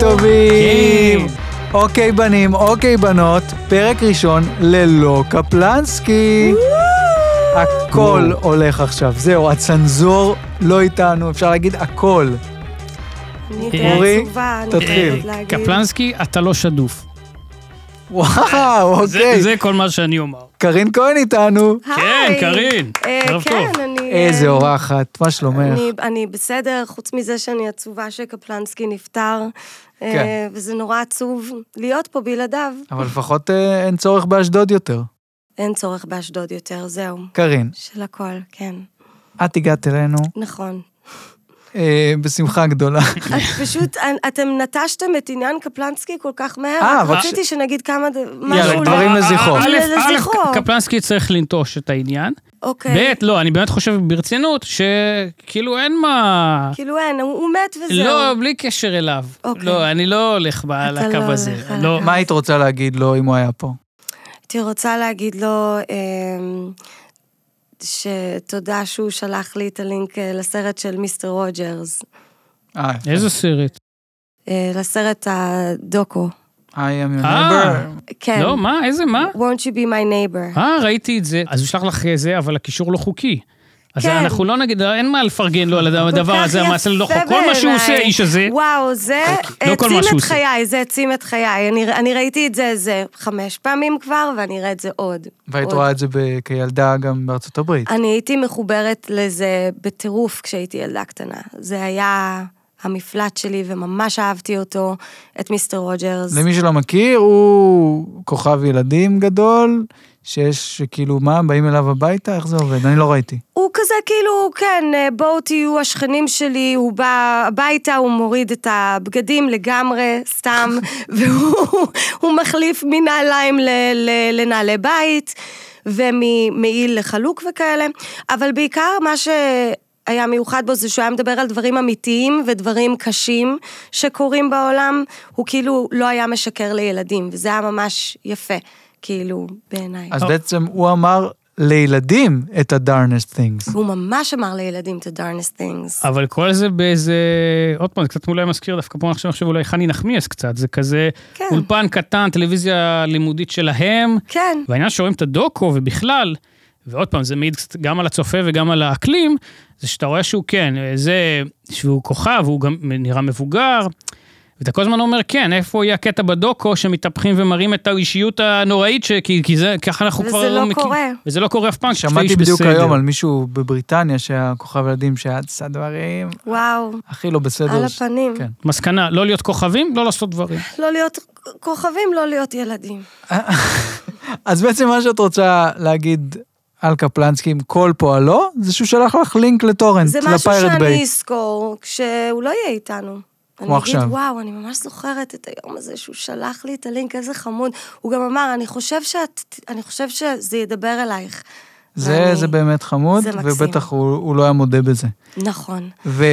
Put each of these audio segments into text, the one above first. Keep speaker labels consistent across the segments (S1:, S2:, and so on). S1: טובים.
S2: כן.
S1: אוקיי בנים, אוקיי בנות, פרק ראשון ללא קפלנסקי. הכל הולך עכשיו, זהו, הצנזור לא איתנו, אפשר להגיד הכל.
S3: אני
S1: אורי,
S3: די עצובה, אני
S1: תתחיל.
S3: חייבת
S2: אה,
S3: להגיד.
S2: קפלנסקי, אתה לא שדוף.
S1: וואו,
S2: זה-
S1: אוקיי.
S2: זה כל מה שאני אומר.
S1: קרין כהן איתנו.
S3: היי.
S2: כן, קארין,
S3: אה,
S2: ערב
S3: כן,
S2: טוב.
S3: אני...
S1: איזה
S3: אה,
S1: אורחת, מה שלומך?
S3: אני- אני בסדר, חוץ מזה שאני עצובה שקפלנסקי נפטר. אה,
S1: כן.
S3: וזה נורא עצוב להיות פה בלעדיו.
S1: אבל לפחות אה, אין צורך באשדוד יותר.
S3: אין צורך באשדוד יותר, זהו.
S1: קרין,
S3: של הכל, כן.
S1: את הגעת אלינו
S3: נכון.
S1: אה, בשמחה גדולה.
S3: את פשוט, אנ- אתם נטשתם את עניין קפלנסקי כל כך מהר,
S1: אה,
S3: רק
S1: אבל
S3: רציתי שנגיד כמה, ד-
S1: יאללה,
S3: משהו. לא-
S1: דברים לזכרו.
S2: א',
S3: לזכרו.
S2: א', קפלנסקי צריך לנטוש את העניין.
S3: אוקיי.
S2: ב', לא, אני באמת חושב ברצינות שכאילו אין מה...
S3: כאילו אין, הוא הוא מת וזהו.
S2: לא, בלי קשר אליו.
S3: אוקיי.
S2: לא, אני לא הולך ב- על
S3: אתה
S2: הקו
S3: לא
S2: הזה.
S3: הולך על
S2: לא,
S3: הקו.
S1: מה היית רוצה להגיד לו אם הוא היה פה?
S3: הייתי רוצה להגיד לו אמ, שתודה שהוא שלח לי את הלינק אה, לסרט של מיסטר רוג'רס,
S1: אה, יפה.
S2: איזה סרט.
S3: אה, לסרט הדוקו.
S1: I am your
S2: אה.
S1: neighbor.
S3: כן.
S2: לא, מה? איזה מה?
S3: won't you be my neighbor.
S2: אה, ראיתי את זה. אז הוא שלח לך זה, אבל הקישור לא חוקי. אז
S3: כן.
S2: אנחנו לא נגיד, אין מה לפרגן לו על
S3: כל
S2: הדבר
S3: כך
S2: הזה, המעשה לא
S3: יפה
S2: חוקי. כל מה שהוא
S3: בעיניי.
S2: עושה, האיש הזה,
S3: וואו, זה
S2: אה. לא כל מה
S3: העצים
S2: שהוא
S3: את
S2: עושה.
S3: חיי, זה העצים את חיי. אני- אני ראיתי את זה איזה חמש פעמים כבר, ואני אראה את זה עוד.
S1: והיית
S3: עוד.
S1: רואה את זה ב- כילדה גם בארצות הברית.
S3: אני הייתי מחוברת לזה בטירוף כשהייתי ילדה קטנה. זה היה המפלט שלי, וממש אהבתי אותו, את מיסטר רוג'רס.
S1: למי שלא מכיר, הוא כוכב ילדים גדול, שיש, שכאילו, מה, באים אליו הביתה? איך זה עובד? אני לא ראיתי.
S3: הוא כזה כאילו, כן, אה, בואו תהיו השכנים שלי, הוא בא הביתה, הוא מוריד את הבגדים לגמרי, סתם, והוא הוא מחליף מנעליים ל, ל, לנעלי בית, וממעיל לחלוק וכאלה, אבל בעיקר מה ש... היה מיוחד בו זה שהוא היה מדבר על דברים אמיתיים ודברים קשים שקורים בעולם, הוא כאילו לא היה משקר לילדים, וזה היה ממש יפה, כאילו, בעיניי.
S2: אה.
S1: אז בעצם הוא אמר לילדים את ה-darnest things.
S3: הוא ממש אמר לילדים את ה-darnest things.
S2: אבל כל זה באיזה, עוד פעם, זה קצת אולי מזכיר, דווקא פה אני חושב אולי חני נחמיאס קצת, זה כזה
S3: כן.
S2: אולפן קטן, טלוויזיה לימודית שלהם,
S3: כן,
S2: והעניין שרואים את הדוקו ובכלל, ועוד פעם, זה מעיד קצת גם על הצופה וגם על האקלים, זה שאתה רואה שהוא כן, זה, שהוא כוכב, הוא גם נראה מבוגר. ואתה כל הזמן אומר, כן, איפה יהיה הקטע בדוקו שמתהפכים ומראים את האישיות הנוראית, ש... כי, כי זה, ככה אנחנו
S3: וזה
S2: כבר...
S3: לא
S2: מכיר-
S3: קורה.
S2: וזה לא קורה אף פעם, כשאתה
S1: שמעתי
S2: איש
S1: בדיוק
S2: בסדר.
S1: היום על מישהו בבריטניה שהיה כוכב ילדים שעשה דברים
S3: וואו,
S1: הכי לא בסדר.
S3: על
S1: ש-
S3: הפנים.
S1: כן.
S2: מסקנה, לא להיות כוכבים, לא לעשות דברים.
S3: לא להיות כוכבים, לא להיות ילדים.
S1: אז בעצם מה שאת רוצה להגיד על קפלנסקי עם כל פועלו, זה שהוא שלח לך לינק לטורנט,
S3: זה משהו
S1: לפיירט
S3: שאני
S1: ביי.
S3: אזכור כשהוא לא יהיה איתנו. אני
S1: כמו
S3: אגיד,
S1: עכשיו.
S3: וואו, אני ממש זוכרת את היום הזה שהוא שלח לי את הלינק, איזה חמוד. הוא גם אמר, אני חושב, שאת, אני חושב שזה ידבר אלייך.
S1: זה,
S3: ואני-
S1: זה באמת חמוד,
S3: זה מקסים.
S1: ובטח הוא, הוא לא היה מודה בזה.
S3: נכון.
S1: ו,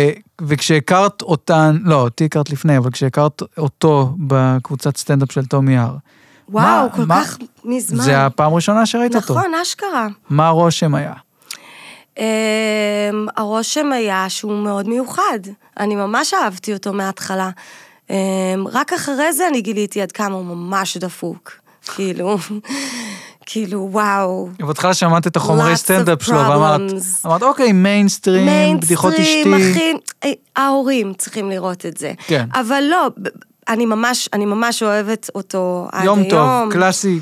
S1: וכשהכרת אותן, לא, אותי הכרת לפני, אבל כשהכרת אותו בקבוצת סטנדאפ של טומי הר,
S3: וואו, כל
S1: מה-
S3: כך מזמן.
S1: זה הפעם הראשונה שראית אותו.
S3: נכון, אשכרה.
S1: מה הרושם היה?
S3: אמ, הרושם היה שהוא מאוד מיוחד. אני ממש אהבתי אותו מההתחלה. אמ, רק אחרי זה אני גיליתי עד כמה הוא ממש דפוק. כאילו, כאילו, וואו.
S1: ובהתחלה שמעת את
S3: Lots
S1: החומרי
S3: of
S1: סטנדאפ שלו, ואמרת,
S3: problems.
S1: אמרת, אוקיי, מיינסטרים, בדיחות אשתי.
S3: מיינסטרים, אחי, אה, ההורים צריכים לראות את זה.
S1: כן.
S3: אבל לא, ב- אני ממש, אני ממש אוהבת אותו עד היום.
S1: יום טוב, קלאסי,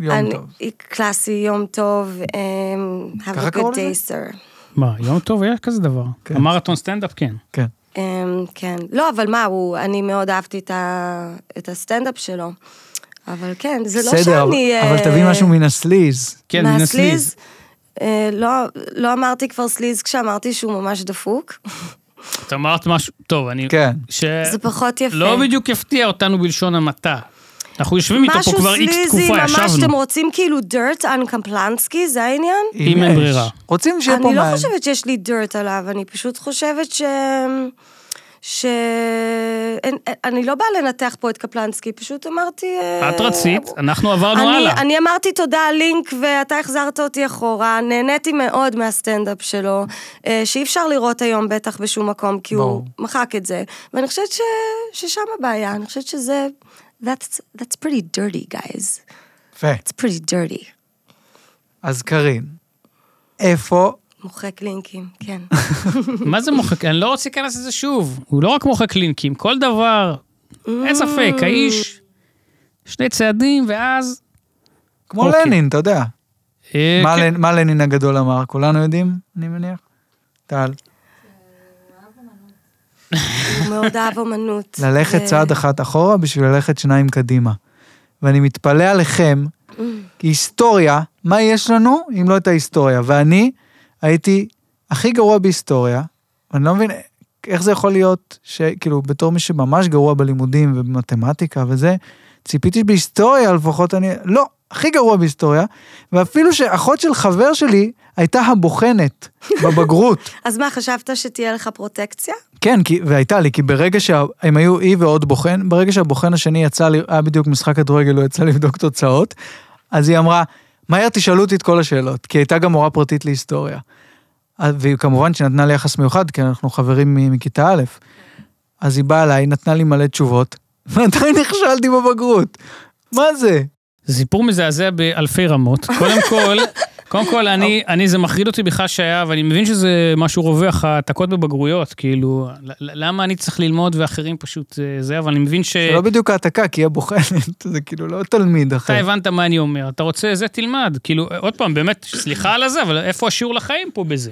S1: יום
S3: אני-
S1: טוב.
S3: קלאסי, יום טוב. אמ, have
S1: ככה
S3: a
S1: קראו
S3: good
S1: לזה?
S3: day, sir.
S2: מה, יום טוב היה כזה דבר.
S1: כן.
S2: המרתון סטנדאפ, כן.
S1: כן.
S3: אמ, כן. לא, אבל מה, הוא, אני מאוד אהבתי את, ה, את הסטנדאפ שלו. אבל כן, זה לא
S1: בסדר, אבל-
S3: שאני...
S1: אבל
S3: אה,
S1: תביא משהו מן הסליז.
S2: כן, מן הסליז.
S3: מהסליז. אה, לא, לא אמרתי כבר סליז כשאמרתי שהוא ממש דפוק.
S2: את אמרת משהו, טוב, אני...
S1: כן.
S2: ש...
S3: זה פחות יפה.
S2: לא בדיוק הפתיע אותנו בלשון המעטה. אנחנו יושבים איתו פה
S3: משהו
S2: כבר איקס תקופה,
S3: סליזי,
S2: ישבנו.
S3: ממש, אתם רוצים כאילו dirt on קמפלנסקי, זה העניין?
S2: אם אין
S1: יש.
S2: ברירה.
S1: רוצים שיהיה פה
S3: אני לא
S1: מעניין.
S3: חושבת שיש לי dirt עליו, אני פשוט חושבת ש... שאני לא באה לנתח פה את קפלנסקי, פשוט אמרתי... אה,
S2: את רצית, אנחנו עברנו
S3: אני,
S2: הלאה.
S3: אני אמרתי תודה על לינק ואתה החזרת אותי אחורה, נהניתי מאוד מהסטנדאפ שלו, אה, שאי אפשר לראות היום בטח בשום מקום, כי
S1: ברור.
S3: הוא מחק את זה. ואני חושבת ש, ששם הבעיה, אני חושבת שזה... That's, that's pretty dirty, guys.
S1: יפה.
S3: It's pretty dirty.
S1: אז קארין, איפה...
S3: מוחק לינקים, כן.
S2: מה זה מוחק? אני לא רוצה להיכנס לזה שוב. הוא לא רק מוחק לינקים, כל דבר,
S3: Mm,
S2: אין ספק, האיש, שני צעדים, ואז...
S1: כמו
S2: אוקיי.
S1: לנין, אתה יודע.
S2: אה,
S1: מה
S2: כן.
S1: לנ- מה לנין הגדול אמר? כולנו יודעים, אני מניח? טל.
S3: הוא מאוד אהב אומנות.
S1: ללכת
S3: ו-
S1: צעד אחת אחורה בשביל ללכת שניים קדימה. ואני מתפלא עליכם, כי היסטוריה, מה יש לנו אם לא את ההיסטוריה? ואני הייתי הכי גרוע בהיסטוריה, ואני לא מבין איך זה יכול להיות, שכאילו, בתור מי שממש גרוע בלימודים ובמתמטיקה וזה, ציפיתי שבהיסטוריה לפחות אני, לא, הכי גרוע בהיסטוריה, ואפילו שאחות של חבר שלי הייתה הבוחנת בבגרות.
S3: אז מה, חשבת שתהיה לך פרוטקציה?
S1: כן, כי, והייתה לי, כי ברגע שהם היו אי ועוד בוחן, ברגע שהבוחן השני יצא, ל- היה בדיוק משחק כדורגל, הוא יצא לבדוק תוצאות, אז היא אמרה, מהר תשאלו אותי את כל השאלות, כי הייתה גם מורה פרטית להיסטוריה. אז- והיא כמובן שנתנה לי יחס מיוחד, כי אנחנו חברים מ- מכיתה א', אז היא באה אליי, נתנה לי מלא תשובות, ועדיין נכשלתי בבגרות. מה זה?
S2: זה סיפור מזעזע באלפי רמות. קודם כל, קודם כל, אני, אני, זה מחריד אותי בכלל שהיה, ואני מבין שזה משהו רווח, העתקות בבגרויות, כאילו, ל- ל- למה אני צריך ללמוד ואחרים פשוט אה, זה, אבל אני מבין ש...
S1: זה לא בדיוק העתקה, כי היא הבוחנת, זה כאילו לא תלמיד
S2: אתה
S1: אחר.
S2: הבנת מה אני אומר, אתה רוצה זה, תלמד. כאילו, עוד פעם, באמת, סליחה על הזה, אבל איפה השיעור לחיים פה בזה?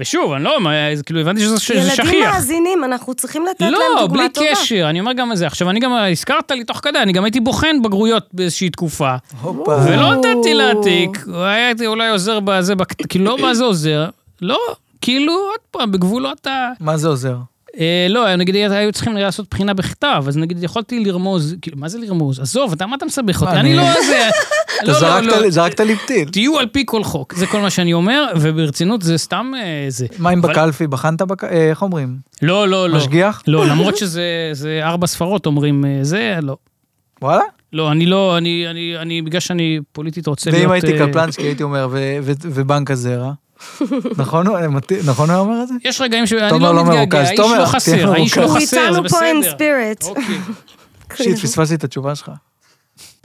S2: ושוב, אני לא, מה, זה כאילו, הבנתי שזה שזה
S3: ילדים
S2: שכיח.
S3: מאזינים, אנחנו צריכים לתת להם
S2: לא,
S3: דוגמה
S2: בלי
S3: טובה.
S2: קשר, אני אומר גם את זה. עכשיו, אני גם, אה, הזכרת לי תוך כדי, אני גם הייתי בוחן בגרויות באיזושהי תקופה,
S1: הופה.
S2: ולא לא נתתי להעתיק, הייתי אולי עוזר בזה, בק- כאילו, לא מה זה עוזר, לא, כאילו, עוד פעם, בגבולות ה...
S1: מה זה עוזר?
S2: אה, לא, נגיד היו צריכים לעשות בחינה בכתב, אז נגיד יכולתי לרמוז, כאילו, מה זה לרמוז? עזוב, אתה, מה אתה מסבך אותי?
S1: אני-
S2: אני לא זה...
S1: אתה
S2: לא, לא,
S1: זרקת
S2: לא.
S1: לי- זרקת לי פתיל.
S2: תהיו על פי כל חוק, זה כל מה שאני אומר, וברצינות זה סתם אה, זה.
S1: מה אם
S2: אבל-
S1: בקלפי? בחנת בק... אה, איך אומרים?
S2: לא, לא, לא.
S1: משגיח?
S2: לא, למרות שזה זה ארבע ספרות אומרים, אה, זה, לא.
S1: וואלה?
S2: לא, אני לא, אני, אני, אני, בגלל שאני פוליטית רוצה להיות...
S1: ואם הייתי
S2: אה,
S1: קפלנסקי הייתי אומר, "ו- ו- ובנק הזרע? נכון הוא נכון הוא אומר את זה?
S2: יש רגעים שאני
S1: תומר
S2: לא
S1: לא
S2: מתגעגע,
S1: מרוכז.
S2: האיש
S1: תומר,
S2: לא
S1: תהיה
S2: חסר, האיש לא
S1: מרוכז.
S3: הוא
S2: חסר, זה
S3: איתנו פה in
S2: בסדר.
S3: spirit.
S2: אוקיי.
S3: כן.
S1: שיט, פספסתי את התשובה שלך.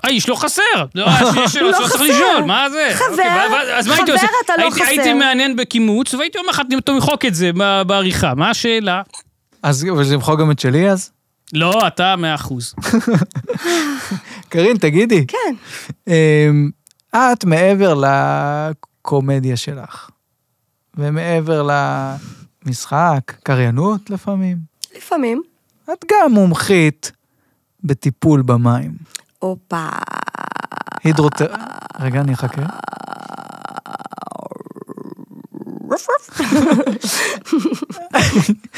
S2: האיש לא חסר. לא, השאלה שלו,
S3: לא
S2: לא צריך
S3: חסר.
S2: לשאול, מה זה?
S3: חבר,
S2: אוקיי, ואז- אז מה הייתי
S3: חבר
S2: עושה?
S3: אתה לא
S2: הייתי-
S3: חסר.
S2: הייתי מעניין בקימוץ, והייתי אומר לך, תמחוק את זה ב- בעריכה, מה השאלה?
S1: אז וזה למחוק גם את שלי אז?
S2: לא, אתה מאה אחוז.
S1: קרין, תגידי.
S3: כן.
S1: אמ, את מעבר לקומדיה שלך, ומעבר למשחק, קריינות לפעמים,
S3: לפעמים.
S1: את גם מומחית בטיפול במים.
S3: הופה.
S1: הידרוט... רגע, אני אחכה.
S3: רוף רוף.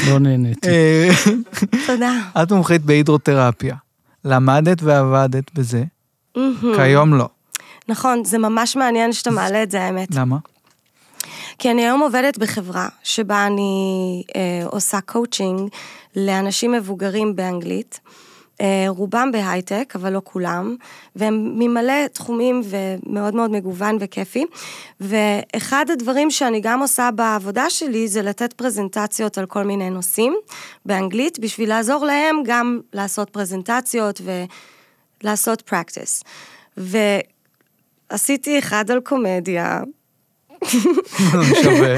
S2: לא נהניתי.
S1: אה,
S3: תודה.
S1: את מומחית בהידרותרפיה. למדת ועבדת בזה,
S3: Mm.
S1: כיום לא.
S3: נכון, זה ממש מעניין שאתה מעלה את זה, האמת.
S1: למה?
S3: כי אני היום עובדת בחברה שבה אני אה, עושה קואוצ'ינג לאנשים מבוגרים באנגלית. אה, רובם בהייטק, אבל לא כולם, והם ממלא תחומים ומאוד מאוד מגוון וכיפי. ואחד הדברים שאני גם עושה בעבודה שלי זה לתת פרזנטציות על כל מיני נושאים באנגלית, בשביל לעזור להם גם לעשות פרזנטציות ולעשות practice. ועשיתי אחד על קומדיה,
S1: לא שווה.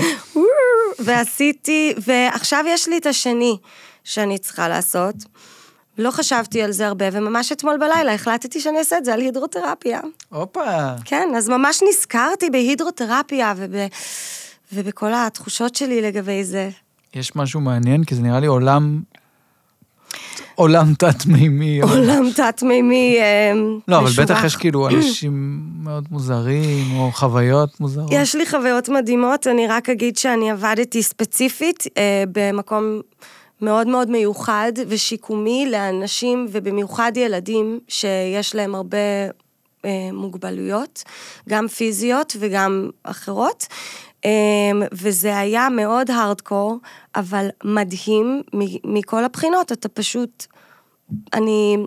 S3: ועשיתי, ועכשיו יש לי את השני שאני צריכה לעשות. לא חשבתי על זה הרבה, וממש אתמול בלילה החלטתי שאני אעשה את זה על הידרותרפיה.
S1: הופה.
S3: כן, אז ממש נזכרתי בהידרותרפיה וב... ובכל התחושות שלי לגבי זה.
S1: יש משהו מעניין, כי זה נראה לי עולם... עולם תת-מימי. אבל-
S3: עולם תת-מימי אה,
S1: לא, אבל
S3: משובח.
S1: בטח יש כאילו אנשים מאוד מוזרים, או חוויות מוזרות.
S3: יש לי חוויות מדהימות, אני רק אגיד שאני עבדתי ספציפית אה, במקום מאוד מאוד מיוחד ושיקומי לאנשים, ובמיוחד ילדים שיש להם הרבה אה, מוגבלויות, גם פיזיות וגם אחרות. אמ, וזה היה מאוד הארדקור, אבל מדהים מ- מכל הבחינות, אתה פשוט... אני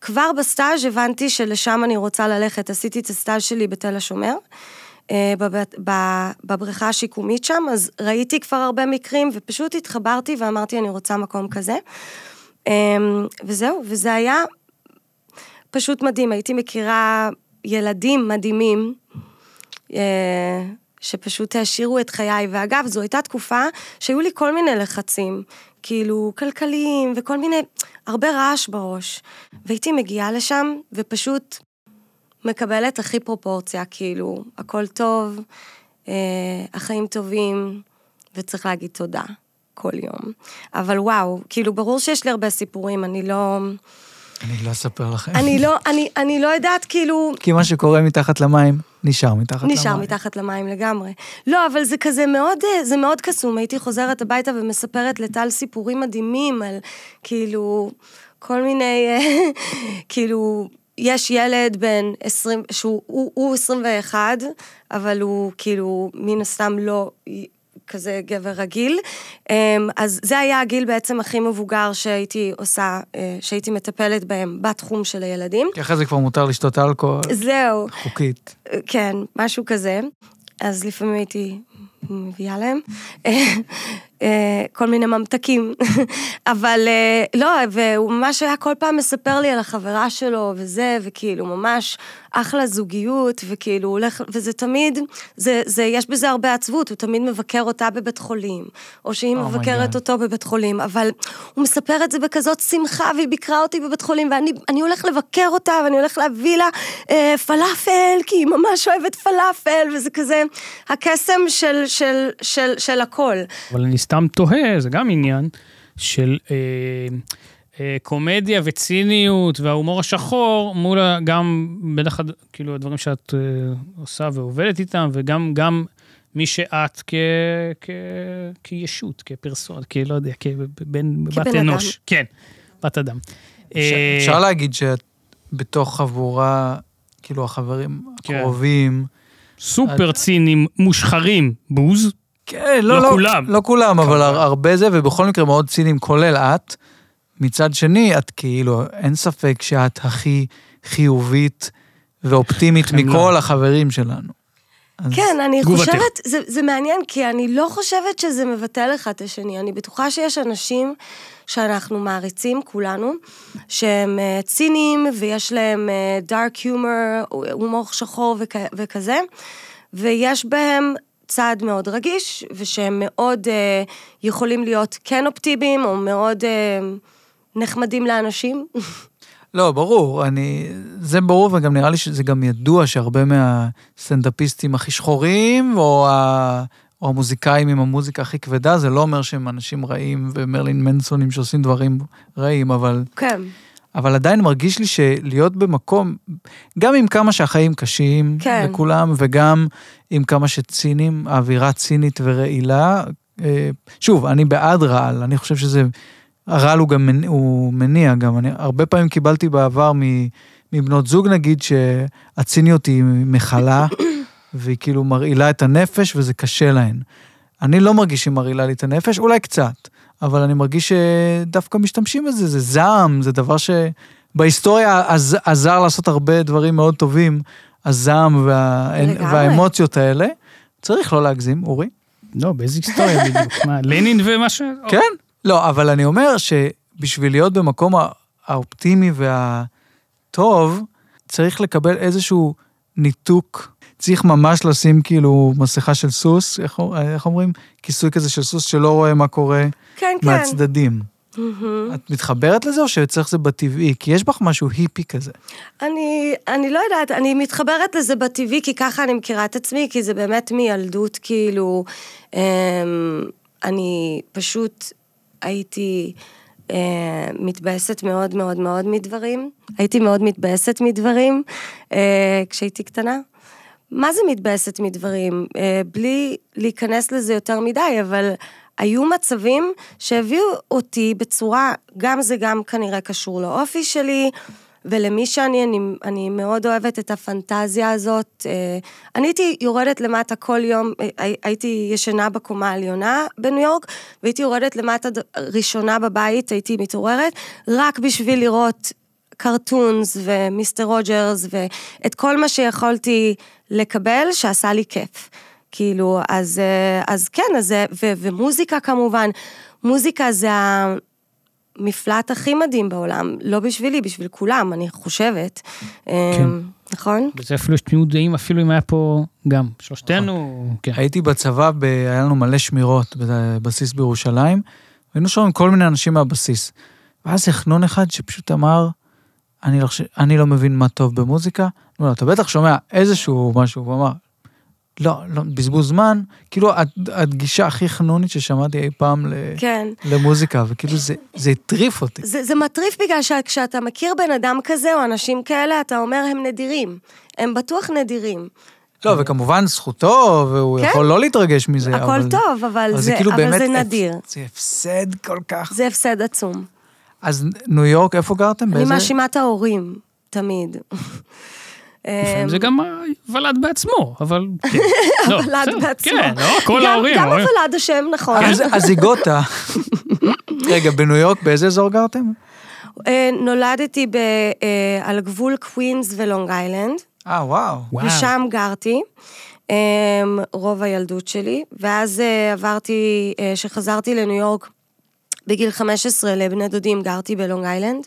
S3: כבר בסטאז' הבנתי שלשם אני רוצה ללכת. עשיתי את הסטאז' שלי בתל השומר, אה, בב- ב- בבריכה השיקומית שם, אז ראיתי כבר הרבה מקרים, ופשוט התחברתי ואמרתי, אני רוצה מקום כזה. אמ, וזהו, וזה היה פשוט מדהים. הייתי מכירה ילדים מדהימים, אה, שפשוט העשירו את חיי. ואגב, זו הייתה תקופה שהיו לי כל מיני לחצים, כאילו, כלכליים וכל מיני, הרבה רעש בראש. והייתי מגיעה לשם ופשוט מקבלת הכי פרופורציה, כאילו, הכל טוב, אה, החיים טובים, וצריך להגיד תודה כל יום. אבל וואו, כאילו, ברור שיש לי הרבה סיפורים, אני לא...
S1: אני לא אספר לכם.
S3: אני לא, אני, אני לא יודעת, כאילו...
S1: כי מה שקורה מתחת למים, נשאר מתחת למים.
S3: נשאר מתחת למים לגמרי. לא, אבל זה כזה מאוד, אה, זה מאוד קסום. הייתי חוזרת הביתה ומספרת לטל סיפורים מדהימים על כאילו כל מיני, אה, כאילו, יש ילד בן 20, שהוא הוא, הוא 21, אבל הוא כאילו מן הסתם לא... כזה גבר רגיל. אמ, אז זה היה הגיל בעצם הכי מבוגר שהייתי עושה, אה, שהייתי מטפלת בהם בתחום של הילדים.
S1: כי אחרי זה כבר מותר לשתות אלכוהול,
S3: זהו.
S1: חוקית.
S3: כן, משהו כזה. אז לפעמים הייתי מביאה להם אה, כל מיני ממתקים. אבל אה, לא, והוא ממש היה כל פעם מספר לי על החברה שלו וזה, וכאילו ממש אחלה זוגיות, וכאילו הוא הולך, וזה תמיד, זה, זה, יש בזה הרבה עצבות, הוא תמיד מבקר אותה בבית חולים, או שהיא
S1: Oh my
S3: מבקרת
S1: God.
S3: אותו בבית חולים, אבל הוא מספר את זה בכזאת שמחה, והיא ביקרה אותי בבית חולים, ואני אני הולך לבקר אותה, ואני הולך להביא לה אה, פלאפל, כי היא ממש אוהבת פלאפל, וזה כזה הקסם של, של, של, של הכל.
S2: אבל אני סתם תוהה, זה גם עניין של אה, אה, קומדיה וציניות וההומור השחור מול ה- גם בטח הד- כאילו הדברים שאת אה, עושה ועובדת איתם, וגם גם מי שאת כ, כ, כישות, כפרסונה, כלא יודע, כבן,
S3: כבן
S2: בת
S3: אדם.
S2: אנוש. כן, בת אדם.
S1: אפשר-
S2: אה,
S1: אפשר להגיד שאת בתוך חבורה, כאילו החברים
S2: כן.
S1: הקרובים.
S2: סופר צינים, מושחרים, בוז.
S1: כן,
S2: לא כולם.
S1: לא כולם, אבל הר- הרבה זה, ובכל מקרה מאוד ציניים, כולל את. מצד שני, את כאילו, אין ספק שאת הכי חיובית ואופטימית
S2: חמלה.
S1: מכל החברים שלנו. אז-
S3: כן, אני
S2: תגובתך.
S3: חושבת, זה, זה מעניין, כי אני לא חושבת שזה מבטל אחד את השני. אני בטוחה שיש אנשים שאנחנו מעריצים, כולנו, שהם אה, ציניים ויש להם דארק הומור, הומור שחור וכ, וכזה, ויש בהם צד מאוד רגיש, ושהם מאוד אה, יכולים להיות כן אופטימיים, או מאוד אה, נחמדים לאנשים.
S1: לא, ברור, אני... זה ברור, וגם נראה לי שזה גם ידוע שהרבה מהסטנדאפיסטים הכי שחורים, או, ה... או המוזיקאים עם המוזיקה הכי כבדה, זה לא אומר שהם אנשים רעים ומרלין מנסונים שעושים דברים רעים, אבל...
S3: כן,
S1: אבל עדיין מרגיש לי שלהיות במקום, גם עם כמה שהחיים קשים
S3: כן.
S1: לכולם, וגם עם כמה שצינים, האווירה צינית ורעילה. אה, שוב, אני בעד רעל, אני חושב שזה... הרעל הוא גם מנ- הוא מניע גם. אני הרבה פעמים קיבלתי בעבר מ, מבנות זוג, נגיד, שהציניות היא מכלה, והיא כאילו מרעילה את הנפש, וזה קשה להן. אני לא מרגיש שהיא מרעילה לי את הנפש, אולי קצת, אבל אני מרגיש שדווקא משתמשים בזה, זה זעם, זה דבר שבהיסטוריה עז, עזר לעשות הרבה דברים מאוד טובים, הזעם וה,
S3: לגמרי.
S1: והאמוציות האלה. צריך לא להגזים, אורי.
S2: לא, באיזה היסטוריה בדיוק. מה, לנין ומה ש...
S1: כן. לא, אבל אני אומר שבשביל להיות במקום הא- האופטימי והטוב, צריך לקבל איזשהו ניתוק. צריך ממש לשים כאילו מסכה של סוס, איך, איך אומרים? כיסוי כזה של סוס שלא רואה מה קורה
S3: כן, כן.
S1: מהצדדים.
S3: מהצדדים.
S1: את מתחברת לזה או שצריך זה בטבעי? כי יש בך משהו היפי כזה.
S3: אני, אני לא יודעת, אני מתחברת לזה בטבעי, כי ככה אני מכירה את עצמי, כי זה באמת מילדות, כאילו, אמ, אני פשוט הייתי אמ, מתבאסת מאוד מאוד מאוד מדברים. הייתי מאוד מתבאסת מדברים אה, כשהייתי קטנה. מה זה מתבאסת מדברים? אה, בלי להיכנס לזה יותר מדי, אבל היו מצבים שהביאו אותי בצורה, גם זה גם כנראה קשור לאופי שלי, ולמי שאני, אני, אני מאוד אוהבת את הפנטזיה הזאת. אה, אני הייתי יורדת למטה כל יום, אה, הי- הייתי ישנה בקומה העליונה בניו יורק, והייתי יורדת למטה ד- ראשונה בבית, הייתי מתעוררת, רק בשביל לראות קרטונס ומיסטר רוג'רס ואת כל מה שיכולתי לקבל שעשה לי כיף. כאילו, אז, אה, אז כן, אז, זה- ו, ומוזיקה כמובן, מוזיקה זה המפלט הכי מדהים בעולם, לא בשבילי, בשביל כולם, אני חושבת. כן. נכון?
S2: וזה אפילו יש תמימות דעים, אפילו אם היה פה גם שלושתנו, כן.
S1: הייתי בצבא, ב... היה לנו מלא שמירות בבסיס בירושלים, היינו שומעים כל מיני אנשים מהבסיס. ואז החנון אחד שפשוט אמר, אני לא, חושב- אני לא מבין מה טוב במוזיקה, אמרו לו, אתה בטח שומע איזשהו משהו, הוא אמר, לא, לא, בזבוז זמן, כאילו הד- הדגישה הכי חנונית ששמעתי אי פעם ל...
S3: כן.
S1: למוזיקה, וכאילו זה, זה הטריף אותי.
S3: זה, זה מטריף בגלל שכשאתה מכיר בן אדם כזה או אנשים כאלה, אתה אומר הם נדירים. הם בטוח נדירים.
S1: לא, וכמובן זכותו, והוא
S3: כן.
S1: יכול לא להתרגש מזה,
S3: הכל
S1: אבל...
S3: טוב, אבל
S1: אבל
S3: זה-
S1: כאילו
S3: אבל
S1: באמת
S3: זה
S1: הפ-
S3: נדיר.
S1: זה הפסד כל כך.
S3: זה הפסד עצום.
S1: אז ניו יורק, איפה גרתם?
S3: אני
S1: באיזה-
S3: מאשימה את ההורים, תמיד. אה, אמ,
S2: לפעמים זה גם ה- ולד בעצמו, אבל... כן. לא,
S3: ולד
S2: בסדר,
S3: בעצמו.
S2: כן, לא כל
S3: גם-
S2: ההורים.
S3: גם
S2: ההורים- כן?
S3: הוולד השם, נכון.
S1: אז- אז זיגוטה. רגע, בניו יורק, באיזה אזור גרתם?
S3: אה, נולדתי ב- אה, על גבול קווינס ולונג איילנד,
S1: אה, וואו.
S2: וואו.
S3: ושם גרתי. אה, רוב הילדות שלי, ואז אה, עברתי, אה, שחזרתי לניו יורק בגיל 15 לבני דודים, גרתי בלונג איילנד,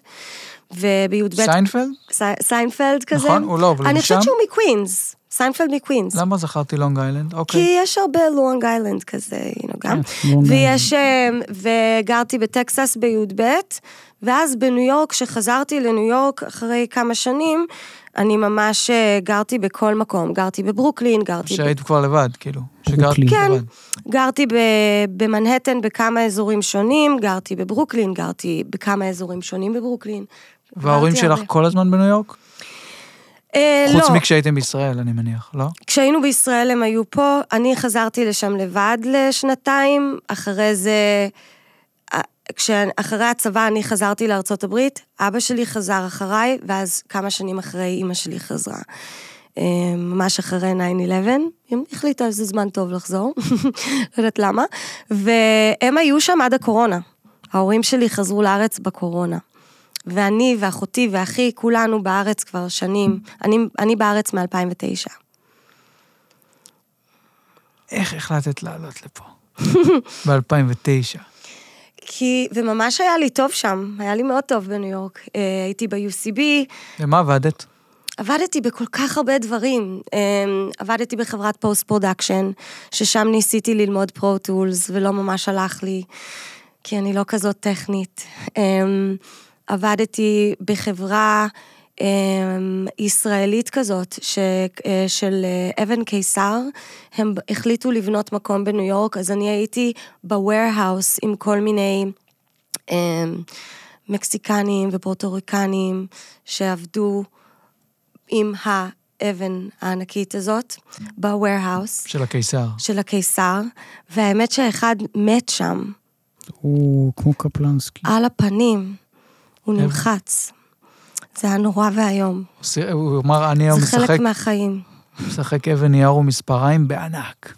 S3: ובי"ב...
S1: שיינפלד?
S3: סי- סיינפלד כזה.
S1: נכון, הוא לא, אבל הוא
S3: אני
S1: משם?
S3: חושבת שהוא מקווינס, סיינפלד מקווינס.
S1: למה זכרתי לונג איילנד? אוקיי.
S3: כי יש הרבה לונג איילנד כזה, you know, גם.
S2: כן, לונג
S3: ויש, אה, וגרתי בטקסס בי"ב, ואז בניו יורק, כשחזרתי לניו יורק אחרי כמה שנים, אני ממש אה, גרתי בכל מקום. גרתי בברוקלין, גרתי... ב-
S1: שהיית כבר לבד, כאילו. שגרת
S2: ברוקלין.
S3: כן,
S1: לבד.
S3: גרתי ב- במנהטן בכמה אזורים שונים, גרתי בברוקלין, גרתי בכמה אזורים שונים בברוקלין.
S1: וההורים
S3: גרתי
S1: שלך
S3: הרבה.
S1: כל הזמן בניו יורק?
S3: אה,
S1: חוץ
S3: "אוקיי." לא.
S1: מכשהייתם בישראל, אני מניח, לא?
S3: כשהיינו בישראל הם היו פה, אני חזרתי לשם לבד לשנתיים, אחרי זה, כשאחרי הצבא אני חזרתי לארצות הברית, אבא שלי חזר אחריי, ואז כמה שנים אחרי אימא שלי חזרה. אה, ממש אחרי 9-11, היא החליטה איזה זמן טוב לחזור, לא יודעת למה, והם היו שם עד הקורונה. ההורים שלי חזרו לארץ בקורונה. ואני ואחותי ואחי, כולנו בארץ כבר שנים. אני, אני בארץ מ-2009.
S1: איך החלטת לעלות לפה? ב-2009.
S3: כי, וממש היה לי טוב שם, היה לי מאוד טוב בניו יורק. אה, הייתי ב-UCB,
S1: למה עבדת?
S3: עבדתי בכל כך הרבה דברים. אה, עבדתי בחברת פוסט פרודקשן, ששם ניסיתי ללמוד פרו-טולס, ולא ממש הלך לי, כי אני לא כזאת טכנית. אה, עבדתי בחברה אה, ישראלית כזאת, ש, אה, של אה, אבן קיסר. הם החליטו לבנות מקום בניו יורק, אז אני הייתי ב-warehouse עם כל מיני... אה, מקסיקנים ופורטוריקנים שעבדו עם האבן הענקית הזאת ב-warehouse
S1: של הקיסר.
S3: של הקיסר, והאמת שאחד מת שם,
S2: הוא כמו קפלנסקי.
S3: על הפנים, הוא נלחץ. זה היה נורא ואיום.
S1: עושה- הוא אמר, אני היום
S3: זה חלק
S1: משחק,
S3: מהחיים.
S1: משחק אבן נייר ומספריים בענק.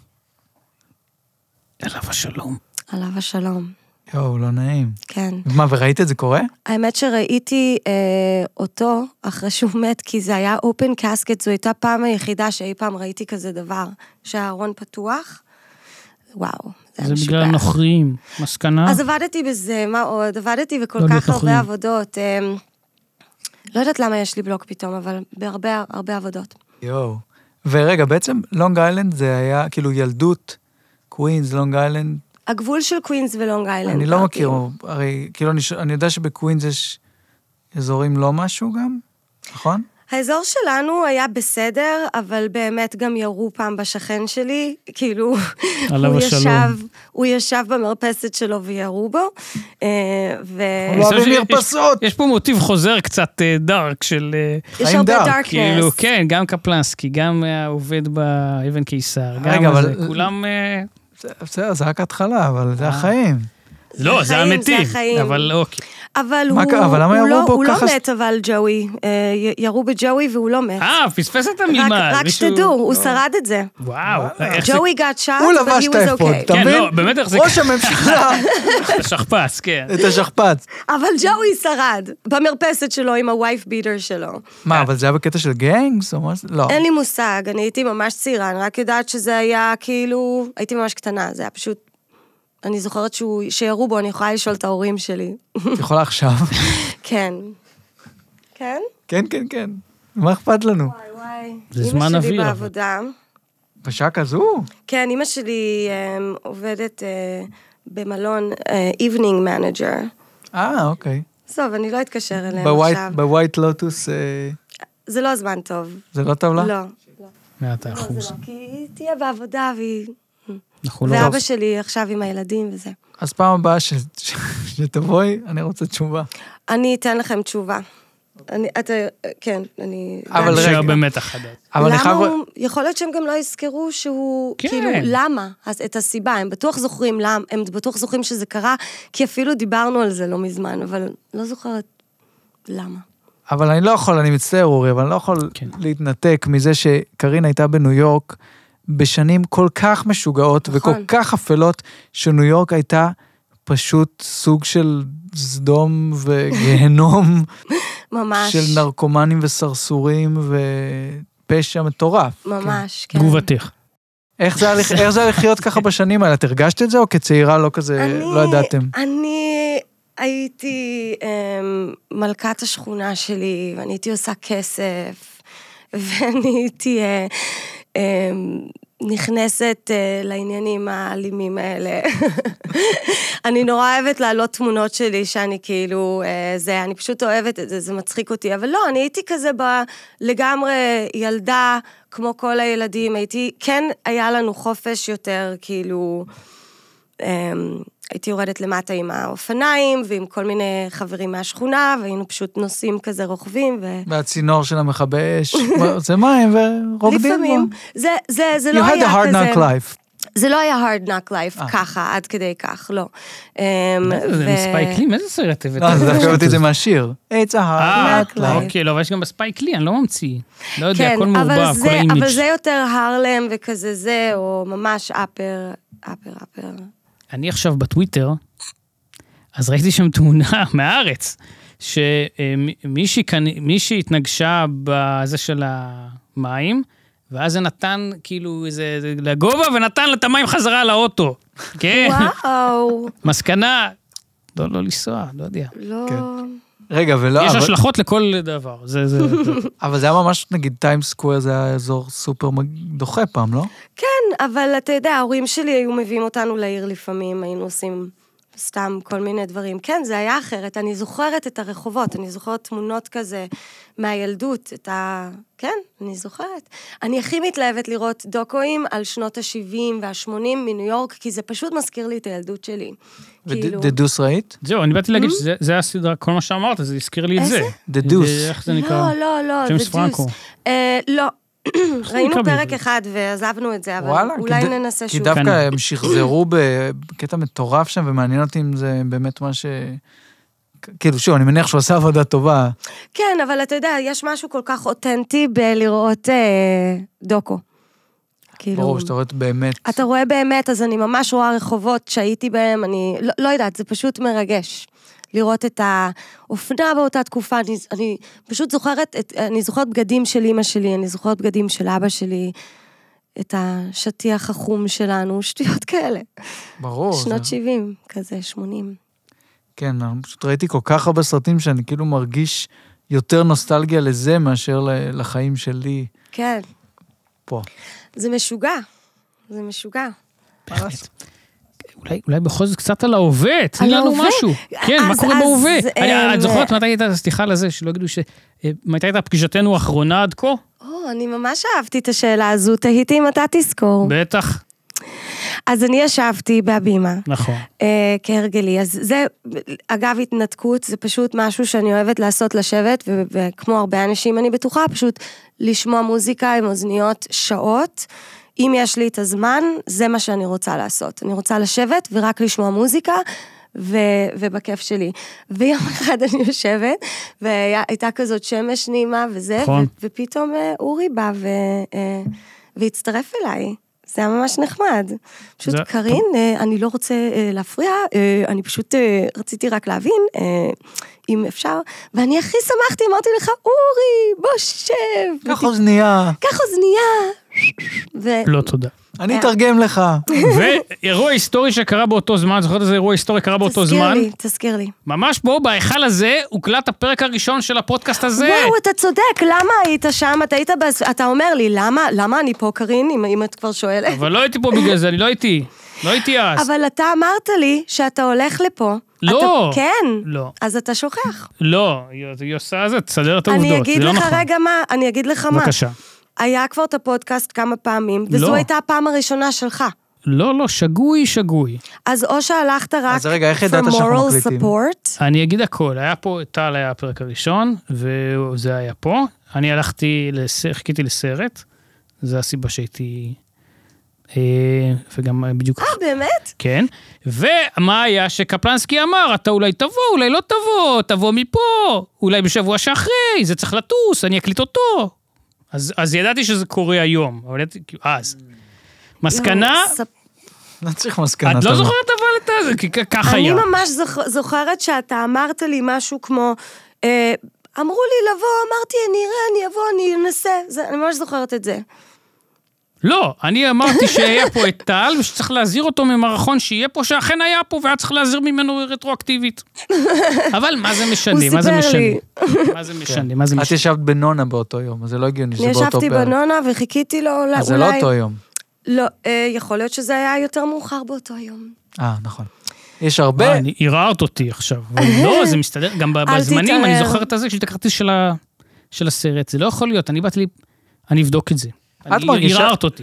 S2: עליו השלום.
S3: עליו השלום,
S1: יואו, לא נעים.
S3: כן.
S1: מה, וראית את זה קורה?
S3: האמת שראיתי אה, אותו אחרי שהוא מת, כי זה היה open casket, זו הייתה פעם היחידה שאי פעם ראיתי כזה דבר, שהארון פתוח. וואו, זה היה
S2: זה בגלל
S3: משוגע.
S2: הנוכרים. מסקנה?
S3: אז עבדתי בזה, מה עוד? עבדתי בכל
S2: לא להיות
S3: כך
S2: נוכלים.
S3: הרבה עבודות. אמ, לא יודעת למה יש לי בלוק פתאום, אבל בהרבה הרבה עבודות.
S1: יואו. ורגע, בעצם לונג איילנד זה היה כאילו ילדות, קווינס, לונג איילנד.
S3: הגבול של קווינס ולונג איילנד.
S1: אני לא
S3: גרתי.
S1: מכיר, הרי כאילו אני, ש- אני יודע שבקווינס יש אזורים לא משהו גם, נכון?
S3: האזור שלנו היה בסדר, אבל באמת גם ירו פעם בשכן שלי, כאילו,
S2: עליו
S3: הוא
S2: השלום.
S3: ישב, הוא ישב במרפסת שלו וירו בו, אה, ו...
S1: הוא לא
S2: אני חושב
S1: אוהבים
S2: שיש-
S1: מרפסות.
S2: יש פה מוטיב חוזר קצת אה, דארק של... אה,
S3: יש
S1: חיים
S3: הרבה
S1: דארק,
S3: דארקנס.
S2: כאילו, כן, גם קפלנסקי, גם אה, העובד באבן קיסר,
S1: רגע,
S2: גם
S1: אבל-
S2: זה, כולם... אה,
S1: זה- בסדר, זה רק התחלה, אבל זה החיים.
S2: לא, זה
S3: החיים, זה
S2: המתים.
S3: החיים.
S2: אבל אוקיי.
S3: אבל
S1: מה
S3: הוא,
S1: קרה? אבל למה
S3: הוא,
S1: ירו
S3: לא,
S1: בו
S3: הוא
S1: ככה ש-
S3: לא מת, אבל ג'וי. אה, י- ירו בג'וי והוא לא מת.
S2: אה, פספס את
S3: רק,
S2: המימד.
S3: רק
S2: מישהו-
S3: שתדעו, הוא שרד את זה.
S2: וואו, איך זה...
S3: ג'וי got shot,
S1: הוא
S3: but
S1: לבש
S3: he
S1: את
S3: was
S1: האפוד,
S3: okay.
S1: אתה
S2: כן,
S1: מבין?
S2: לא, באמת איך זה
S1: ראש הממשלה,
S2: שכפ"ץ, כן.
S1: את השכפ"ץ.
S3: אבל ג'וי שרד, במרפסת שלו עם הווייף ביטר שלו.
S1: מה, אבל זה היה בקטע של גנגס או משהו? לא.
S2: נכון.
S3: אין לי מושג, אני הייתי ממש צעירה, אני רק יודעת שזה היה כאילו... הייתי ממש קטנה, זה היה פשוט... אני זוכרת שהוא... שירו בו, אני יכולה לשאול את ההורים שלי.
S1: את יכולה עכשיו.
S3: כן. כן?
S1: כן, כן, כן. מה אכפת לנו?
S3: וואי וואי.
S2: זה זמן
S3: אמא
S2: אוויר,
S3: שלי
S2: אבל.
S3: בעבודה.
S1: בשעה כזו?
S3: כן, אימא שלי אמ, עובדת אה, במלון איבנינג מנג'ר.
S1: אה, אוקיי.
S3: עזוב, אני לא אתקשר אליהם
S1: בווייט-
S3: עכשיו.
S1: בווייט לוטוס אה, זה
S3: זה לא הזמן טוב.
S1: לא טבלה?
S3: לא.
S2: מאת
S3: זה
S2: האחוז.
S3: לא, כי היא תהיה בעבודה והיא...
S2: אנחנו לא...
S3: ואבא שלי עכשיו עם הילדים וזה.
S1: אז פעם הבאה ש- ש- שתבואי, אני רוצה תשובה.
S3: אני אתן לכם תשובה. אני, אתה, כן, אני...
S1: אבל
S3: אני-
S1: רגע.
S2: נשאר במתח עד אז.
S1: אבל אני
S3: למה
S1: חייב...
S3: הוא, יכול להיות שהם גם לא יזכרו שהוא,
S2: כן.
S3: כאילו, למה? אז את הסיבה, הם בטוח זוכרים למה, הם בטוח זוכרים שזה קרה, כי אפילו דיברנו על זה לא מזמן, אבל לא זוכרת למה.
S1: אבל אני לא יכול, אני מצטער אורי, אבל אני לא יכול
S2: כן.
S1: להתנתק מזה שקרין הייתה בניו יורק בשנים כל כך משוגעות
S3: נכון.
S1: וכל כך אפלות, שניו יורק הייתה פשוט סוג של סדום וגיהנום
S3: ממש.
S1: של נרקומנים וסרסורים ופשע מטורף.
S3: ממש, כן.
S2: תגובתך.
S1: איך זה היה לח- איך זה היה לחיות ככה בשנים האלה? את הרגשת את זה או כצעירה לא כזה,
S3: אני-
S1: לא ידעתם?
S3: אני הייתי אמ, מלכת השכונה שלי, ואני הייתי עושה כסף, ואני הייתי אה, אמ, נכנסת אה, לעניינים האלימים האלה. אני נורא אוהבת להעלות תמונות שלי שאני כאילו, אה, זה, אני פשוט אוהבת את זה, זה מצחיק אותי, אבל לא, אני הייתי כזה ב... לגמרי ילדה, כמו כל הילדים, הייתי, כן היה לנו חופש יותר, כאילו... אמ, הייתי יורדת למטה עם האופניים ועם כל מיני חברים מהשכונה, והיינו פשוט נוסעים כזה רוכבים, ו...
S1: והצינור של המכבי אש, זה מים ורוקדים.
S3: לפעמים,
S1: בו.
S3: זה, זה, זה
S1: You
S3: לא
S1: had
S3: היה
S1: a hard knock
S3: כזה,
S1: life.
S3: זה לא היה hard knock life
S1: אה.
S3: ככה, עד כדי כך, לא. אמ,
S2: זה
S3: ו-
S2: מספייקלים, איזה סרט הבאת?
S1: לא, זה דווקא הבאתי את זה מהשיר. It's a
S2: אה,
S1: hard knock life.
S2: אוקיי, לא, אבל יש גם בספייקלי, אני לא ממציא. לא יודע,
S3: כן,
S2: הכל מעורבב,
S3: אבל
S2: כל
S3: זה, אבל
S2: האימיג'.
S3: זה יותר הרלם וכזה זה, או ממש אפר, אפר, אפר.
S2: אני עכשיו בטוויטר, אז ראיתי שם תמונה מהארץ, שמישהי כאן- מישהי התנגשה בזה של המים, ואז זה נתן כאילו איזה זה לגובה, ונתן לה את המים חזרה לאוטו. כן.
S3: וואו,
S2: מסקנה, לא, לא לנסוע, לא יודע.
S3: לא...
S1: רגע, ולא,
S2: יש
S1: לא, אבל-
S2: השלכות לכל דבר, זה, זה, זה.
S1: אבל זה היה ממש, נגיד, טיים סקוויר זה היה אזור סופר מג- דוחה פעם, לא?
S3: כן, אבל אתה יודע, ההורים שלי היו מביאים אותנו לעיר לפעמים, היינו עושים סתם כל מיני דברים. כן, זה היה אחרת. אני זוכרת את הרחובות, אני זוכרת תמונות כזה מהילדות, את ה... כן, אני זוכרת. אני הכי מתלהבת לראות דוקואים על שנות ה-70 וה-80 מניו יורק, כי זה פשוט מזכיר לי את הילדות שלי. כאילו...
S1: The Deuce ראית?
S2: זהו, אני באתי להגיד שזה זה הסדרה, כל מה שאמרת, זה הזכיר לי את
S3: איזה?
S2: זה.
S1: The Deuce.
S2: זה- איך זה נקרא?
S3: לא, לא, לא,
S2: ג'יימס
S3: זה
S2: פרנקו.
S3: ג'וס. אה, לא.
S2: זה נקרא
S3: ראינו פרק
S2: בעברית?
S3: אחד ועזבנו את זה, אבל
S1: וואלה.
S3: אולי
S1: כי ד-
S3: ננסה
S1: כי
S3: שוב.
S1: דווקא
S2: כן.
S1: הם שחזרו ב- בקטע מטורף שם, ומעניין אותי אם זה באמת מה ש... כאילו, שוב, אני מניח שהוא עשה עבודה טובה.
S3: כן, אבל אתה יודע, יש משהו כל כך אותנטי בלראות אה, דוקו. כאילו...
S1: ברור, שאתה רואה באמת...
S3: אתה רואה באמת, אז אני ממש רואה רחובות שהייתי בהם, אני לא, לא יודעת, זה פשוט מרגש. לראות את האופנה באותה תקופה, אני, אני פשוט זוכרת, את, אני זוכרת בגדים של אימא שלי, אני זוכרת בגדים של אבא שלי, את השטיח החום שלנו, שטויות כאלה.
S1: ברור. זה-
S3: שנות 70, כזה, 80.
S1: כן, אני פשוט ראיתי כל כך הרבה סרטים שאני כאילו מרגיש יותר נוסטלגיה לזה מאשר ל- לחיים שלי
S3: כן,
S1: פה.
S3: זה משוגע, זה משוגע.
S2: באמת. אולי, אולי בכל זאת קצת על ההווה, תני
S3: על
S2: לנו
S3: ההווה?
S2: משהו. כן, מה
S3: אז-
S2: קורה
S3: אז,
S2: בהווה?
S3: אה,
S2: אני- את
S3: אה,
S2: זוכרת מתי הייתה, סליחה לזה, שלא יגידו ש... אה, מתי הייתה פגישתנו האחרונה עד כה?
S3: או, אני ממש אהבתי את השאלה הזו, תהיתי אם אתה תזכור.
S2: בטח,
S3: אז אני ישבתי בהבימה,
S2: נכון.
S3: אה, כהרגלי. אז זה, אגב, התנתקות, זה פשוט משהו שאני אוהבת לעשות, לשבת, ו- וכמו הרבה אנשים, אני בטוחה, פשוט לשמוע מוזיקה עם אוזניות שעות. אם יש לי את הזמן, זה מה שאני רוצה לעשות. אני רוצה לשבת ורק לשמוע מוזיקה, ו, ובכיף שלי. ויום אחד אני יושבת, והייתה כזאת שמש נעימה וזה, ו,
S2: נכון.
S3: ופתאום אה, אורי בא ו, אה, והצטרף אליי. זה היה ממש נחמד. פשוט,
S2: זה-
S3: זה... קארין, אה, אני לא רוצה אה, להפריע, אה, אני פשוט אה, רציתי רק להבין, אה, אם אפשר, ואני הכי שמחתי, אמרתי לך, אורי, בוא שב.
S1: קח אוזנייה,
S3: קח אוזנייה. ו...
S2: לא תודה.
S3: אה.
S1: אני אתרגם לך.
S2: ואירוע היסטורי שקרה באותו זמן, זוכרת איזה אירוע היסטורי קרה באותו
S3: תזכיר
S2: זמן?
S3: לי, תזכיר לי.
S2: ממש פה, בהיכל הזה, הוקלט הפרק הראשון של הפודקאסט הזה.
S3: וואו, אתה צודק, למה היית שם? אתה היית בס... אתה אומר לי, למה, למה אני פה, קארין, אם, אם את כבר שואלת?
S2: אבל לא הייתי פה בגלל זה, אני לא הייתי. לא הייתי אז.
S3: אבל אתה אמרת לי שאתה הולך לפה.
S2: לא.
S3: אתה... כן.
S2: לא.
S3: אז אתה שוכח.
S2: לא, היא- היא עושה זה, תסדר את
S3: אני
S2: העובדות, זה
S3: אגיד
S2: לא
S3: לך
S2: נכון.
S3: רגע מה, אני אגיד לך מה.
S2: בבקשה.
S3: היה כבר את הפודקאסט כמה פעמים, וזו
S2: לא.
S3: הייתה הפעם הראשונה שלך.
S2: לא, לא, שגוי, שגוי.
S3: אז או שהלכת רק
S1: אז רגע, איך
S3: for
S1: ידעת שאנחנו
S3: moral
S1: מקליטים?
S3: support,
S2: אני אגיד הכל, היה פה, טל היה הפרק הראשון, וזה היה פה. אני הלכתי, לס- חיכיתי לסרט, זה הסיבה שהייתי... אה, וגם אה, בדיוק...
S3: אה, באמת?
S2: כן. ומה היה שקפלנסקי אמר, אתה אולי תבוא, אולי לא תבוא, תבוא מפה, אולי בשבוע שאחרי, זה צריך לטוס, אני אקליט אותו. אז, אז ידעתי שזה קורה היום, אבל ידעתי, כאילו, אז. מסקנה,
S3: לא, ספ-
S1: לא צריך מסקנה.
S2: את לא
S1: אתה
S2: זוכרת אבל את זה, כי כ- כך
S3: אני לא-
S2: היה.
S3: ממש זוכ- זוכרת שאתה אמרת לי משהו כמו, אה, אמרו לי לבוא, אמרתי, אני אראה, אני אבוא, אני אנסה. זה- אני ממש זוכרת את זה.
S2: לא, אני אמרתי שיהיה פה את טל, ושצריך להזהיר אותו ממערכון שיהיה פה, שאכן היה פה, והיה צריך להזהיר ממנו רטרואקטיבית. אבל מה זה משנה,
S3: הוא
S2: מה זה
S3: סיפר
S2: משנה?
S3: לי.
S2: מה זה משנה, מה זה
S1: את
S2: משנה?
S1: ישבת בנונה באותו יום, אז זה לא הגיוני שזה
S3: אני
S1: באותו
S3: ישבתי
S1: פרק.
S3: בנונה וחיכיתי לו, אולי...
S1: אז זה לא אותו יום.
S3: לא, אה, יכול להיות שזה היה יותר מאוחר באותו יום.
S1: אה, נכון. יש הרבה,
S2: אה, אני- ערערת אותי עכשיו. אבל לא, זה מסתדר, גם ב-
S3: אל
S2: בזמנים, אני
S3: תתערער.
S2: זוכר את הזה, יש לי את הכרטיס של ה- של הסרט, זה לא יכול להיות, אני באתי, לי- אני אבדוק את זה. אני-
S1: מרגישה-
S2: ערערת אותי.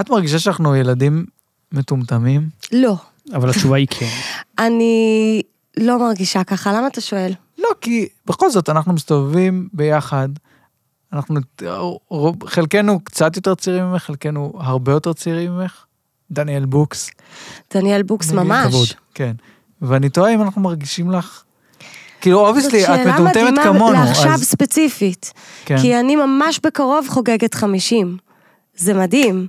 S1: את מרגישה שאנחנו ילדים מטומטמים?
S3: לא.
S2: אבל התשובה היא כן.
S3: אני לא מרגישה ככה, למה אתה שואל?
S1: לא, כי בכל זאת אנחנו מסתובבים ביחד. אנחנו, רוב- חלקנו קצת יותר צעירים ממך, חלקנו הרבה יותר צעירים ממך. דניאל בוקס.
S3: דניאל בוקס
S1: אני מבין,
S3: ממש.
S1: כבוד. כן. ואני תוהה אם אנחנו מרגישים לך... כאילו,
S3: זאת
S1: אובייסלי, את
S3: שאלה
S1: מטומטמת
S3: מדהימה
S1: כמונו,
S3: לעכשיו
S1: אז...
S3: ספציפית.
S1: כן.
S3: כי אני ממש בקרוב חוגגת 50. זה מדהים.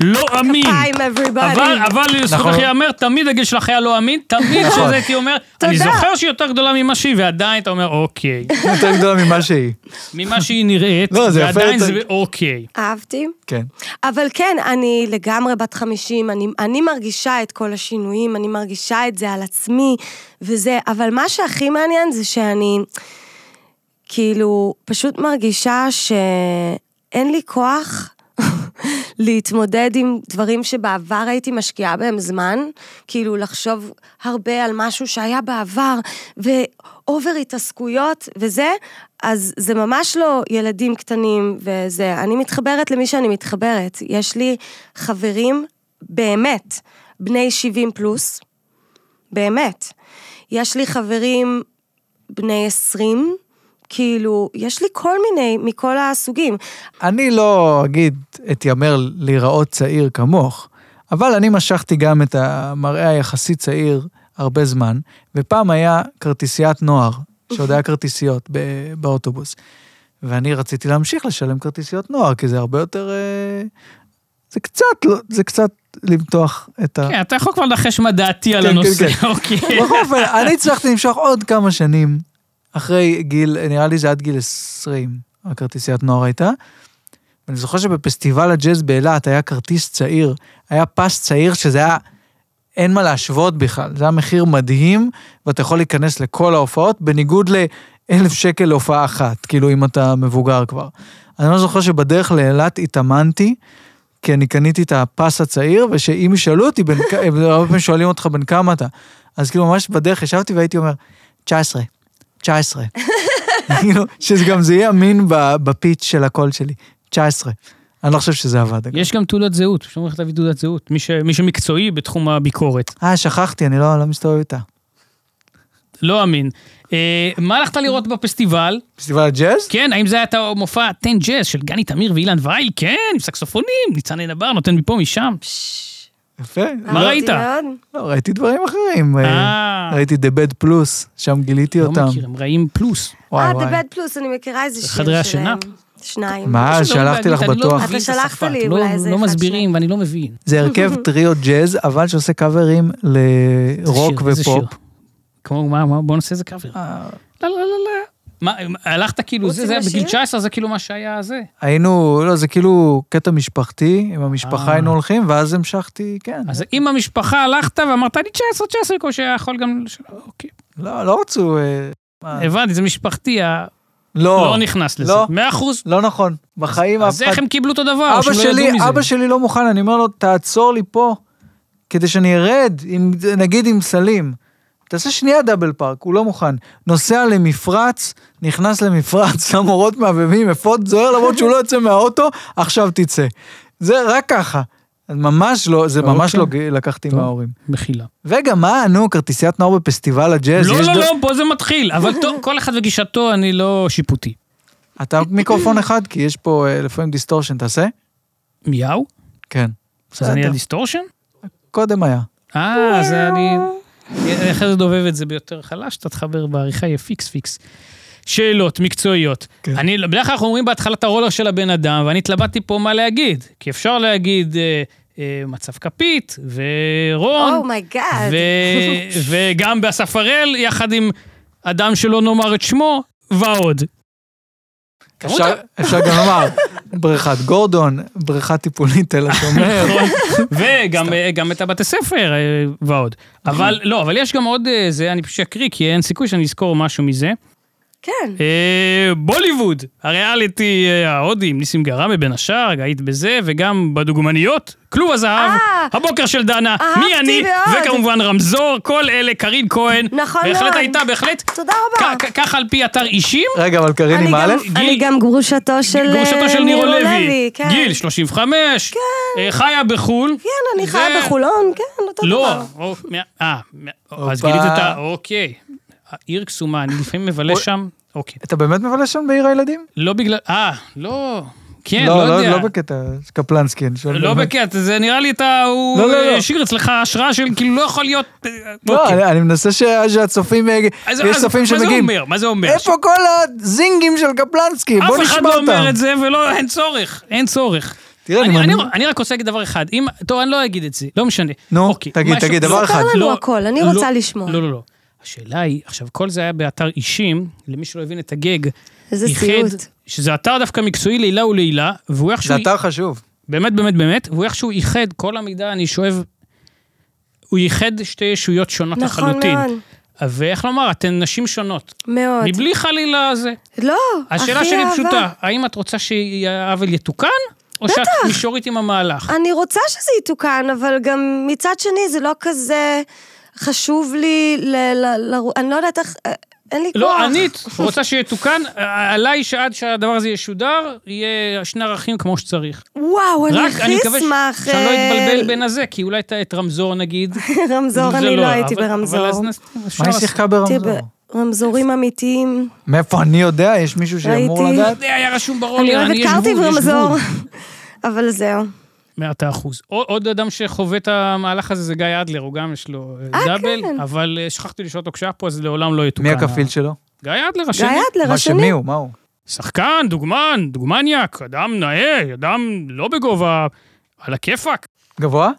S2: לא אמין.
S3: כפיים, לא everybody.
S2: אבל, אבל לזכותך
S1: נכון.
S2: ייאמר, תמיד הגיל שלך היה לא אמין, תמיד שזה הייתי אומר, אני
S3: נכון. תודה.
S2: זוכר שהיא יותר גדולה ממה שהיא, ועדיין אתה אומר, אוקיי.
S1: יותר גדולה ממה שהיא.
S2: ממה שהיא נראית,
S1: לא, זה יפה
S2: ועדיין
S1: יותר.
S2: זה אוקיי.
S3: אהבתי.
S1: כן.
S3: אבל כן, אני לגמרי בת 50, אני, אני מרגישה את כל השינויים, אני מרגישה את זה על עצמי וזה, אבל מה שהכי מעניין זה שאני כאילו פשוט מרגישה שאין לי כוח להתמודד עם דברים שבעבר הייתי משקיעה בהם זמן, כאילו לחשוב הרבה על משהו שהיה בעבר, ואובר התעסקויות וזה, אז זה ממש לא ילדים קטנים וזה. אני מתחברת למי שאני מתחברת. יש לי חברים באמת בני 70 פלוס, באמת. יש לי חברים בני 20, כאילו, יש לי כל מיני, מכל הסוגים.
S1: אני לא אגיד אתיימר להיראות צעיר כמוך, אבל אני משכתי גם את המראה היחסי צעיר הרבה זמן, ופעם היה כרטיסיית נוער, שעוד היה כרטיסיות ב- באוטובוס. ואני רציתי להמשיך לשלם כרטיסיות נוער, כי זה הרבה יותר... אה, זה קצת, לא- זה קצת למתוח את ה...
S2: כן, אתה יכול כבר לנחש מה דעתי על
S1: כן,
S2: הנושא,
S1: כן, כן.
S2: אוקיי.
S1: בכל אופן, אני הצלחתי למשוך עוד כמה שנים אחרי גיל, נראה לי זה עד גיל 20, הכרטיסיית נוער הייתה. ואני זוכר שבפסטיבל הג'אז באילת היה כרטיס צעיר, היה פס צעיר שזה היה, אין מה להשוות בכלל, זה היה מחיר מדהים, ואתה יכול להיכנס לכל ההופעות, בניגוד לאלף שקל להופעה אחת, כאילו אם אתה מבוגר כבר. אני לא זוכר שבדרך לאילת התאמנתי, כי אני קניתי את הפס הצעיר, ושאם ישאלו אותי, בין, כ- הם הרבה פעמים שואלים אותך בן כמה אתה. אז כאילו ממש בדרך ישבתי והייתי אומר, 19, 19. כאילו, שגם זה יהיה אמין ב- בפיץ' של הקול שלי, 19. אני לא חושב שזה עבד. אגב.
S2: יש גם תעודת זהות, אפשר ללכת להביא תעודת זהות. מי ש- מי שמקצועי בתחום הביקורת.
S1: אה, שכחתי, אני לא, לא מסתובב איתה.
S2: לא אמין. אה, מה הלכת לראות בפסטיבל?
S1: פסטיבל הג'אז?
S2: כן, האם זה היה את המופע תן ג'אז של גני תמיר ואילן וייל? כן, עם סקסופונים, ניצן אלבר נותן מפה משם.
S3: פשש.
S1: יפה.
S2: מה
S1: לא-
S2: ראית?
S3: אהבתי מאוד.
S1: לא, ראיתי דברים אחרים.
S2: אה.
S1: ראיתי The Bad Plus, שם גיליתי
S2: לא
S1: אותם.
S2: מכיר, הם רעים פלוס.
S3: אה,
S1: וואי
S3: The
S1: וואי.
S3: Bad פלוס, אני מכירה איזה שיר שלהם.
S2: חדרי השינה?
S3: שניים.
S1: מה,
S2: שלא
S1: אה, שלחתי
S2: להגיד,
S1: לך
S2: אני לא
S1: בטוח.
S2: מבין את
S3: אתה שלחת
S2: השפה,
S3: לי
S2: לא-
S3: אולי איזה
S2: לא
S3: אחד,
S2: מסבירים ואני לא מבין.
S1: זה הרכב טריו ג'אז, אבל שעושה קאברים
S2: איזה
S1: לרוק
S2: שיר, איזה
S1: ופופ.
S2: שיר. כמו, מה, מה, בוא נעשה איזה קאבר. לא,
S1: אה,
S2: לא, לא, לא. מה, הלכת כאילו,
S3: רוצים
S2: זה, זה היה בגיל
S3: לשיר?
S2: 19, זה כאילו מה שהיה זה.
S1: היינו, לא, זה כאילו קטע משפחתי, עם המשפחה
S2: אה.
S1: היינו הולכים, ואז המשכתי, כן.
S2: אז עם המשפחה הלכת ואמרת, אני 19, 19, כמו שהיה יכול גם... לש- אוקיי.
S1: לא, לא רצו... אה, מה?
S2: הבנתי, זה משפחתי, ה-
S1: לא,
S2: לא נכנס לזה.
S1: לא.
S2: 100 אחוז.
S1: לא נכון. בחיים אף
S2: אז איך
S1: אחד...
S2: הם קיבלו אותו דבר?
S1: אבא
S2: שהם לא
S1: שלי,
S2: ידעו מזה?
S1: אבא שלי לא מוכן, אני אומר לו, תעצור לי פה, כדי שאני ארד, עם, נגיד עם סלים. תעשה שנייה דאבל פארק, הוא לא מוכן. נוסע למפרץ, נכנס למפרץ, המורות מהבהבים, אפוד זוהר למרות שהוא לא יוצא מהאוטו, עכשיו תצא. זה רק ככה. אז ממש לא, זה ממש לא
S2: אוקיי.
S1: לקחתי
S2: טוב.
S1: מההורים.
S2: מחילה.
S1: וגם מה, נו, כרטיסיית נוער בפסטיבל הג'אז.
S2: לא,
S1: יש
S2: לא,
S1: דו-
S2: לא, פה זה מתחיל. אבל טוב, כל אחד וגישתו, אני לא שיפוטי.
S1: אתה מיקרופון אחד, כי יש פה אה, לפעמים דיסטורשן, תעשה?
S2: מיהו?
S1: כן.
S2: אז אני
S1: בסדר.
S2: הדיסטורשן?
S1: קודם היה.
S2: אה, זה אני... אני אחרי זה דובב את זה ביותר חלש, אתה תחבר בעריכה, יהיה פיקס פיקס. שאלות מקצועיות.
S1: כן.
S2: אני, בדרך כלל אנחנו אומרים בהתחלה את הרולר של הבן אדם, ואני התלבטתי פה מה להגיד. כי אפשר להגיד אה, אה, מצב כפית,
S3: Oh
S2: ורון,
S3: אומייגאד.
S2: ו- וגם באסף הראל, יחד עם אדם שלא נאמר את שמו, ועוד. כמות
S1: אפשר, אפשר גם לומר, בריכת גורדון, בריכה טיפולית תל השומר.
S2: נכון. וגם אה, גם את הבתי ספר אה, ועוד. אבל לא, אבל יש גם עוד, אה, זה אני פשוט אקריא, כי אין סיכוי שאני אזכור משהו מזה.
S3: כן.
S2: אה, בוליווד, הריאליטי אה, ההודי עם ניסים גראמה בין השאר, היית בזה, וגם בדוגמניות, כלוב הזהב,
S3: אה,
S2: הבוקר של דנה,
S3: אהבתי
S2: מי אני,
S3: מאוד.
S2: וכמובן רמזור, כל אלה, קרין כהן.
S3: נכון
S2: בהחלט
S3: מאוד.
S2: הייתה, בהחלט.
S3: תודה רבה.
S2: כ- כ- ככה על פי אתר אישים,
S1: רגע, אבל קרין
S3: אני
S1: עם א',
S3: גם- אני
S2: גיל-
S3: גם גרושתו של אה,
S2: גרושתו של נירו לוי,
S3: כן.
S2: גיל 35, אה, חיה בחו"ל.
S3: כן, אני
S2: זה-
S3: חיה בחולון, כן, אותו דבר.
S2: לא, או- מאה- אה, מאה- אז
S1: הופה.
S2: גילית את ה... אוקיי. העיר קסומה, אני לפעמים מבלה
S1: אוי.
S2: שם, אוקיי.
S1: אתה באמת מבלה שם בעיר הילדים?
S2: לא בגלל... אה, לא. כן, לא
S1: לא,
S2: יודע.
S1: לא בקטע קפלנסקי, אני שואל.
S2: לא
S1: באמת.
S2: בקטע, זה נראה לי אתה... הוא
S1: לא, לא, לא.
S2: אה, השאיר אצלך השראה של כאילו לא יכול להיות... אה,
S1: לא,
S2: אוקיי.
S1: אני- אני מנסה ש- שהצופים, יג-
S2: אז-
S1: יש
S2: אז
S1: צופים
S2: מה זה
S1: שמגיעים.
S2: אומר? מה זה אומר?
S1: איפה כל הזינגים של קפלנסקי? בוא
S2: אף אחד
S1: נשמע
S2: לא אומר
S1: אותם.
S2: את זה ולא, אין צורך, אין צורך.
S1: תראה, אני
S2: אני- אני-
S1: מאמין-
S2: אני רק עושה דבר אחד, אם, טוב, אני לא אגיד את זה, לא משנה.
S1: נו,
S2: אוקיי,
S1: תגיד,
S2: משהו-
S1: תגיד,
S2: לא,
S1: דבר אחד.
S3: לנו הכל, אני
S2: לא,
S3: רוצה לשמוע.
S2: לא, לא, לא. השאלה היא, עכשיו, כל זה היה באתר אישים, למי שלא הבין את הגג,
S3: איזה
S2: איחד,
S3: סיוט.
S2: שזה אתר דווקא מקצועי לעילה ולעילה, והוא איכשהו...
S1: זה אתר חשוב.
S2: באמת, באמת, באמת, והוא איכשהו איחד כל המידע, אני שואב... הוא איחד שתי ישויות שונות
S3: נכון
S2: לחלוטין.
S3: מאוד.
S2: ואיך לומר, אתן נשים שונות.
S3: מאוד.
S2: מבלי חלילה זה.
S3: לא, הכי
S2: השאלה שלי
S3: אהבה.
S2: פשוטה, האם את רוצה שהעוול יתוקן, או שאת מישורית עם המהלך?
S3: אני רוצה שזה יתוקן, אבל גם מצד שני זה לא כזה חשוב לי ל... ל- ל- אני לא יודעת איך... אה, אין לי כוח.
S2: לא, ענית, רוצה שיתוקן, אה, עליי שעד שהדבר הזה ישודר, יהיה שני ערכים כמו שצריך.
S3: וואו, אני
S2: רק, אני
S3: הכי
S2: מקווה ש-
S3: אשמח...
S2: שאני לא
S3: אה,
S2: אתבלבל בין הזה, כי אולי את- את רמזור נגיד.
S3: רמזור,
S2: זה
S3: אני לא הייתי
S2: אבל-
S3: ברמזור.
S2: אבל אז נס- אפשר
S1: מה היא
S2: לעשות-
S1: שיחקה
S3: הייתי
S1: ברמזור?
S3: ברמזורים אמיתיים.
S1: מאיפה אני יודע? יש מישהו שאמור
S3: ראיתי.
S1: לדעת?
S2: זה היה רשום
S3: אני
S2: ברולר,
S3: אוהבת
S2: יש
S3: קרטיב
S2: גבול, יש
S3: רמזור.
S2: גבול.
S3: אבל זהו.
S2: מעט האחוז. עוד- עוד אדם שחווה את המהלך הזה זה גיא אדלר, הוא גם יש לו אה,
S3: אה,
S2: דאבל,
S3: כן.
S2: אבל אה, שכחתי לשאול אותו כשהיה פה, אז לעולם לא יתוקן.
S1: מי הכפיל שלו?
S2: גיא אדלר,
S3: גיא
S2: השני.
S3: אדלר
S1: מה שמי
S3: השני.
S1: הוא? מה הוא?
S2: שחקן, דוגמן, דוגמניאק, אדם נאה, אדם לא בגובה, על הכיפאק.
S1: גבוה?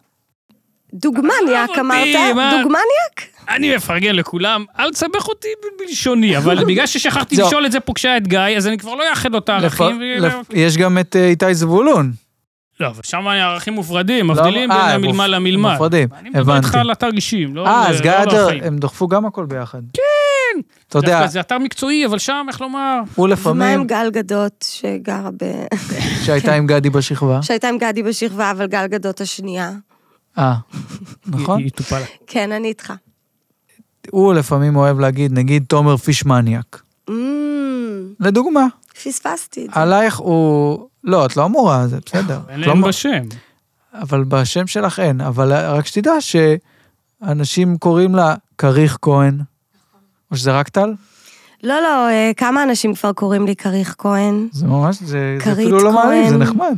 S3: דוגמניאק
S2: אה, אותי,
S3: אמרת?
S2: מה?
S3: דוגמניאק?
S2: אני מפרגן לכולם, אל תסבך אותי ב- בלשוני, אבל בגלל ששכחתי
S1: זהו.
S2: לשאול את זה פה כשהיה את גיא, אז אני כבר לא אאחד לו את הערכים.
S1: לפ-
S2: ו-
S1: לפ- יש גם את אה, איתי זבולון.
S2: לא, אבל שם הערכים מופרדים,
S1: לא,
S2: מבדילים בין
S1: אה, הם
S2: המלמל
S1: מופ-
S2: למלמל.
S1: מופרדים,
S2: אני מדבר איתך
S1: הבנתי.
S2: על אתר אישים, לא
S1: אה,
S2: על-
S1: אז
S2: לא
S1: גיא
S2: על
S1: אדר,
S2: ערכים.
S1: הם דחפו גם הכל ביחד. כן. אתה יודע,
S2: דווקא זה אתר מקצועי, אבל שם, איך לומר?
S1: הוא
S3: ומה עם
S1: לפעמים,
S3: גל גדות שגרה ב...
S1: שהייתה עם גדי בשכבה.
S3: שהייתה עם גדי בשכבה, אבל גל גדות השנייה.
S1: אה, נכון? לא
S2: היא- היא טופלה.
S3: כן, אני איתך.
S1: הוא לפעמים אוהב להגיד, נגיד תומר פיש מניאק.
S3: אמ,
S1: לדוגמה,
S3: פספסתי
S2: אה.
S3: את זה.
S1: עלייך הוא... לא, את לא אמורה, זה בסדר. את
S2: אין
S1: לא
S2: להם
S1: אמורה-
S2: בשם.
S1: אבל בשם שלך אין. אבל רק שתדע שאנשים קוראים לה כריך כהן. או שזה רק טל?
S3: לא, לא, אה, כמה אנשים כבר קוראים לי כריך כהן?
S1: זה ממש, זה זה
S3: כרית
S1: אפילו לא מעליב, זה
S3: כהן.
S1: נחמד.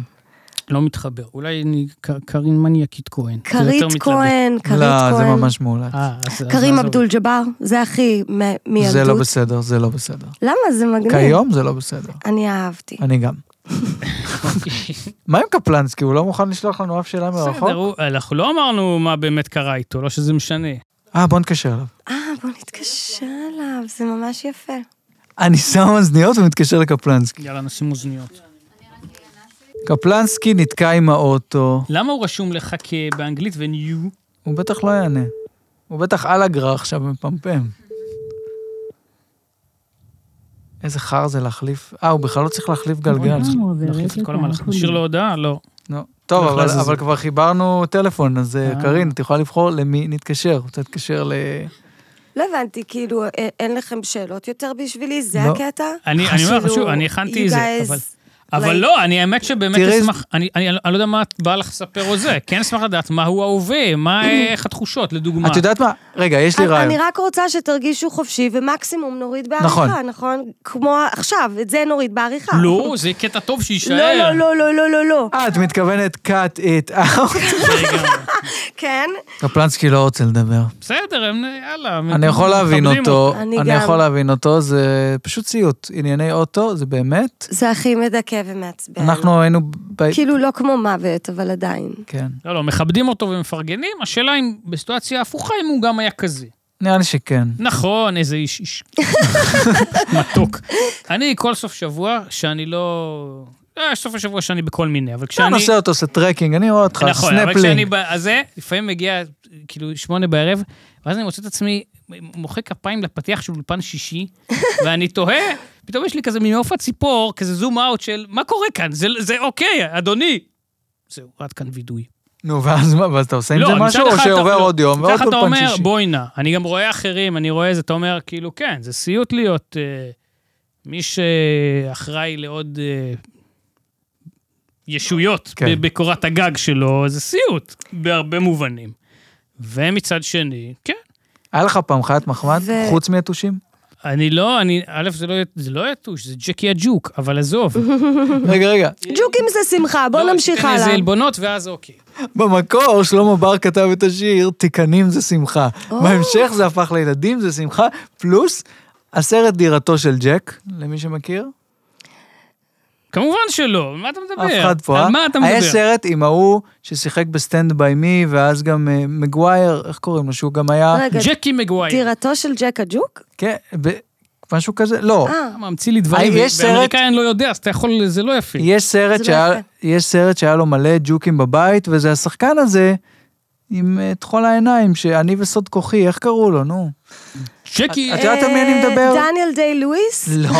S2: לא מתחבר. אולי אני ק- קרין מניאקית כהן. זה יותר
S3: כרית
S2: מתלבט.
S3: כהן, כרית
S1: לא, זה
S3: כהן.
S1: ממש מעולה.
S2: אה, אז- אז
S3: כרים
S2: נעזוב.
S3: אבדול ג'באר, זה הכי מ- מילדות.
S1: זה לא בסדר, זה לא בסדר.
S3: למה זה מגניב?
S1: כיום זה לא בסדר.
S3: אני אהבתי.
S1: אני גם.
S2: אוקיי.
S1: מה עם קפלנסקי? הוא לא מוכן לשלוח לנו אף שאלה מרחוק?
S2: בסדר, הוא- אנחנו לא אמרנו מה באמת קרה איתו, לא שזה משנה.
S1: אה, בוא נתקשר אליו.
S3: אה, בוא נתקשר אליו, זה ממש יפה.
S1: אני שם אוזניות ומתקשר לקפלנסקי.
S2: יאללה, נשים אוזניות.
S1: קפלנסקי נתקע עם האוטו,
S2: למה הוא רשום לך כ- באנגלית וניו?
S1: הוא בטח לא יענה. הוא בטח על הגרח עכשיו מפמפם. איזה חר זה להחליף... אה, הוא בכלל לא צריך להחליף גלגל.
S2: נחליף את כל המהלך. נשאיר לו הודעה? לא.
S1: נו, טוב,
S2: אנחנו
S1: אבל,
S2: נזיז.
S1: אבל כבר חיברנו טלפון, אז אה,
S2: אה.
S1: קארין, את יכולה לבחור למי נתקשר. רוצה להתקשר ל...
S3: לא הבנתי, כאילו, א- אין לכם שאלות יותר בשבילי? זה
S1: לא.
S3: הקטע?
S2: אני אני אומר לך
S3: כאילו,
S2: שוב, אני הכנתי
S3: you
S2: איזה,
S3: guys-
S2: אבל... אבל
S3: like-
S2: לא, אני האמת שבאמת
S1: תראי-
S2: אשמח, אני אני- אני לא יודע מה את באה לך לספר או זה, כן אשמח לדעת מהו ההווה, מה, איך התחושות, לדוגמה.
S1: את יודעת מה? רגע, יש לי
S3: אני
S1: רעיון.
S3: רק רוצה שתרגישו חופשי, ומקסימום נוריד
S1: נכון.
S3: בעריכה, נכון? כמו עכשיו, את זה נוריד בעריכה.
S2: לא, זה קטע טוב שיישאר.
S3: לא, לא, לא, לא, לא, לא, לא.
S1: אה, את מתכוונת cut it out.
S2: רגע,
S3: כן?
S1: קפלנסקי לא רוצה לדבר.
S2: בסדר, הם- יאללה.
S1: אני יכול להבין
S2: מכבדים
S1: אותו,
S3: אני
S1: אני
S3: גם.
S1: יכול להבין אותו, זה פשוט סיוט. ענייני אוטו, זה באמת.
S3: זה הכי מדכא ומעצבן.
S1: אנחנו היינו... ב-
S3: כאילו לא כמו מוות, אבל עדיין.
S1: כן.
S2: לא, לא, מכבדים אותו ומפרגנים, השאלה אם בסיטואציה הפוכה, אם הוא גם היה כזה.
S1: נראה לי שכן.
S2: נכון, איזה איש איש. מתוק. אני כל סוף שבוע, שאני לא... אה, יש סוף השבוע שאני בכל מיני, אבל
S1: אתה
S2: כשאני...
S1: נוסע אותו, עושה טרקינג, אני רואה אותך,
S2: נכון, אבל כשאני
S1: סנפלינג.
S2: ב- אז זה, לפעמים מגיע כאילו שמונה בערב, ואז אני מוצא את עצמי מוחא כפיים לפתיח של אולפן שישי, ואני תוהה, פתאום יש לי כזה ממעוף הציפור, כזה זום אאוט של מה קורה כאן, זה, זה אוקיי, אדוני. זהו, עד כאן וידוי.
S1: נו, ואז מה, ואז אתה עושה עם זה
S2: מצד
S1: משהו, או
S2: אחד אתה-
S1: שעובר
S2: לא,
S1: עוד יום,
S2: מצד
S1: ועוד
S2: אחד אתה
S1: אולפן
S2: אומר,
S1: שישי?
S2: בואי נא, אני גם רואה אחרים, אני רואה זה, אתה אומר, כאילו, כן, זה סיוט להיות אה, מי שאחראי לעוד אה, ישויות
S1: כן.
S2: ב- בקורת הגג שלו, זה סיוט, בהרבה מובנים. ומצד שני, כן,
S1: היה לך פעם חיית מחמד,
S3: ו-
S1: חוץ מיתושים? אני...
S2: אני לא, אני, א', זה לא, זה לא יתוש, זה ג'קי הג'וק, אבל עזוב.
S1: רגע, רגע.
S3: ג'וקים זה שמחה, בואו
S2: לא,
S3: נמשיך
S2: תן לי איזה
S3: הלאה.
S2: עלבונות, ואז אוקיי.
S1: במקור שלמה בר כתב את השיר, תיקנים זה שמחה. בהמשך זה הפך לילדים זה שמחה, פלוס הסרט דירתו של ג'ק, למי שמכיר.
S2: כמובן שלא, מה אתה מדבר?
S1: אף אחד פה, אה?
S2: על מה אתה
S1: היה
S2: מדבר?
S1: סרט עם ההוא ששיחק בסטנד ביי מי, ואז גם אה, מגווייר, איך קוראים לו? שהוא גם היה...
S3: רגע,
S2: ג'קי מגווייר.
S3: דירתו של ג'ק הג'וק?
S1: כן, ב- משהו כזה, לא.
S3: אה,
S2: ממציא לי דברים,
S1: אה, יש סרט-
S2: באמריקאי אני לא יודע, אז אתה יכול, זה לא יפה.
S1: יש סרט,
S3: זה
S1: שהיה,
S3: לא
S1: יש סרט שהיה לו מלא ג'וקים בבית, וזה השחקן הזה עם אה, טחול העיניים, שאני וסוד כוחי, איך קראו לו, נו?
S2: צ'קי,
S1: את יודעת על מי אני
S3: אה,
S1: מדבר?
S3: דניאל דיי לואיס?
S1: לא,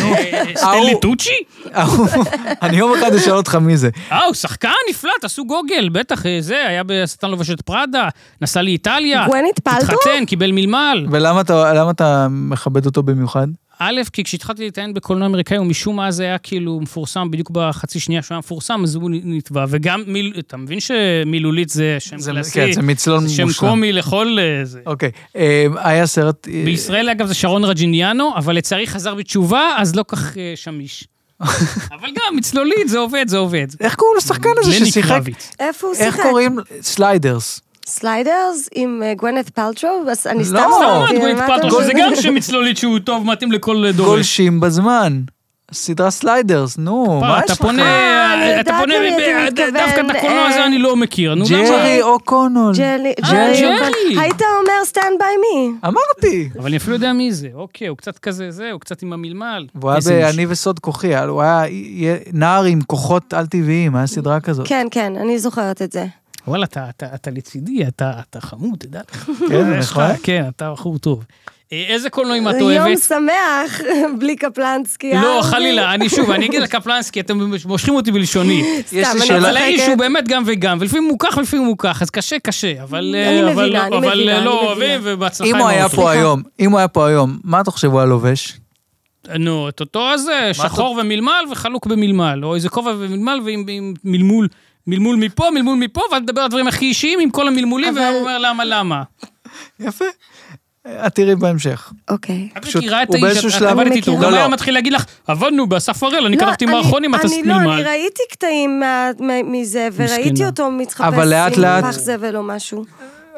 S1: נו.
S2: אה, סטנלי
S1: ההוא.
S2: טוצ'י?
S1: ההוא- אה, אני יום אחד אשאל אותך מי זה.
S2: אה, הוא שחקן נפלא, תעשו גוגל, בטח אה, זה, היה בשטן לובש את פראדה, נסע לאיטליה,
S3: גוונית פלטרו?
S2: התחתן, קיבל מלמל.
S1: ולמה אתה, למה אתה מכבד אותו במיוחד?
S2: א', כי כשהתחלתי להתעניין בקולנוע אמריקאי, הוא משום מה זה היה כאילו מפורסם, בדיוק בחצי שנייה שהוא היה מפורסם, אז הוא נתבע. וגם, מיל- אתה מבין שמילולית זה שם
S1: זה-
S2: קלאסי,
S1: כן, זה מצלול
S2: זה שם
S1: מושלם.
S2: קומי לכל אה, זה.
S1: אוקיי, אה, היה סרט... אה,
S2: בישראל, אגב, זה שרון רג'יניאנו, אבל לצערי חזר בתשובה, אז לא כך אה, שמיש. אבל גם, מצלולית, זה עובד, זה עובד.
S1: איך קוראים לשחקן הזה
S2: לני
S1: לא ששיחק?
S2: קרביץ.
S3: איפה הוא
S1: איך
S3: שיחק?
S1: קוראים? סליידרס.
S3: סליידרס עם אה, גוונת פלטרו? אז אני סתם
S1: לא,
S2: למה את
S3: סתם-
S2: גולית
S3: מה אתה
S2: פטרון?
S3: אומר?
S1: אה,
S2: זה גם שם מצלולית שהוא טוב, מתאים לכל אה, דורש.
S1: גולשים בזמן. סדרה סליידרס, נו, מה
S2: אה, אתה
S1: יש לך?
S2: פונה,
S3: אה, אני
S2: אה,
S3: יודעת
S2: אתה פונה,
S3: למי אתה
S2: אה,
S3: מתכוון,
S2: דווקא את הקולנוע הזה
S3: אה,
S2: אני לא מכיר. נו, למה?
S1: ג'רי אוקונול.
S3: ג'לי,
S2: אה,
S3: ג'לי.
S2: ג'לי.
S3: היית אומר סטנד ביי מי.
S1: אמרתי.
S2: אבל אני אפילו יודע מי זה. אוקיי, הוא קצת כזה זה, הוא קצת עם המלמל.
S1: והוא היה
S2: איזה מישהו.
S1: ב"אני וסוד כוחי", הוא היה י- נער עם כוחות על-טבעיים, היה סדרה כזאת.
S3: כן, כן, אני זוכרת את זה.
S2: וואלה, אתה- אתה אתה לצידי, אתה אתה חמוד, תדע לך.
S1: כן,
S2: יש
S1: נכון.
S2: לך- כן, אתה בחור טוב. אה, איזה קולנועים את
S3: זה יום
S2: אוהבת?
S3: שמח, בלי קפלנסקי. אה,
S2: לא,
S3: אהבתי.
S2: חלילה, אני שוב, אני אגיד לקפלנסקי, אתם מושכים אותי בלשוני.
S3: סתם,
S1: יש לי
S3: אני
S1: שאלה.
S2: אבל האיש
S3: צוחקת.
S2: הוא באמת גם וגם, ולפעמים מוכח ולפעמים מוכח, אז קשה, קשה. אבל
S3: אני
S2: אה, אבל
S3: מבינה,
S2: לא-
S3: אני
S2: אבל,
S3: מבינה,
S2: אה,
S3: אני
S2: לא
S3: מבינה.
S2: אוהבים, ובהצלחה
S1: אם
S2: עם
S1: הוא היה
S2: האורחים.
S1: פה היום, אם הוא היה פה היום, מה אתה חושב הוא היה לובש?
S2: נו, את אותו הזה, שחור ומלמל וחלוק במלמל, או איזה כובע ומלמל ועם עם מלמול, מלמול מפה, מלמול מפה, ואת מדברת על דברים הכי אישיים עם כל המלמולים,
S3: אבל-
S2: והוא אומר למה, למה.
S1: יפה. את תראי בהמשך.
S3: אוקיי.
S2: את
S1: פשוט,
S2: מכירה את
S1: הוא
S2: האיש,
S1: באיזשהו
S2: את
S1: שלב-
S2: עבדת
S3: אני
S2: איתו, הוא
S3: מכירה.
S2: גם
S1: לא,
S2: היה
S1: לא.
S2: מתחיל להגיד לך, עבדנו באסף הראל, אני
S3: לא,
S2: כתבתי
S3: אני-
S2: מערכון עם התסמיל.
S3: אני לא, אני ראיתי קטעים מה- מה- מזה, וראיתי
S2: מסכנה.
S3: אותו מתחפש
S1: אבל לאט
S3: עם
S1: לאט-
S3: פח זבל או משהו.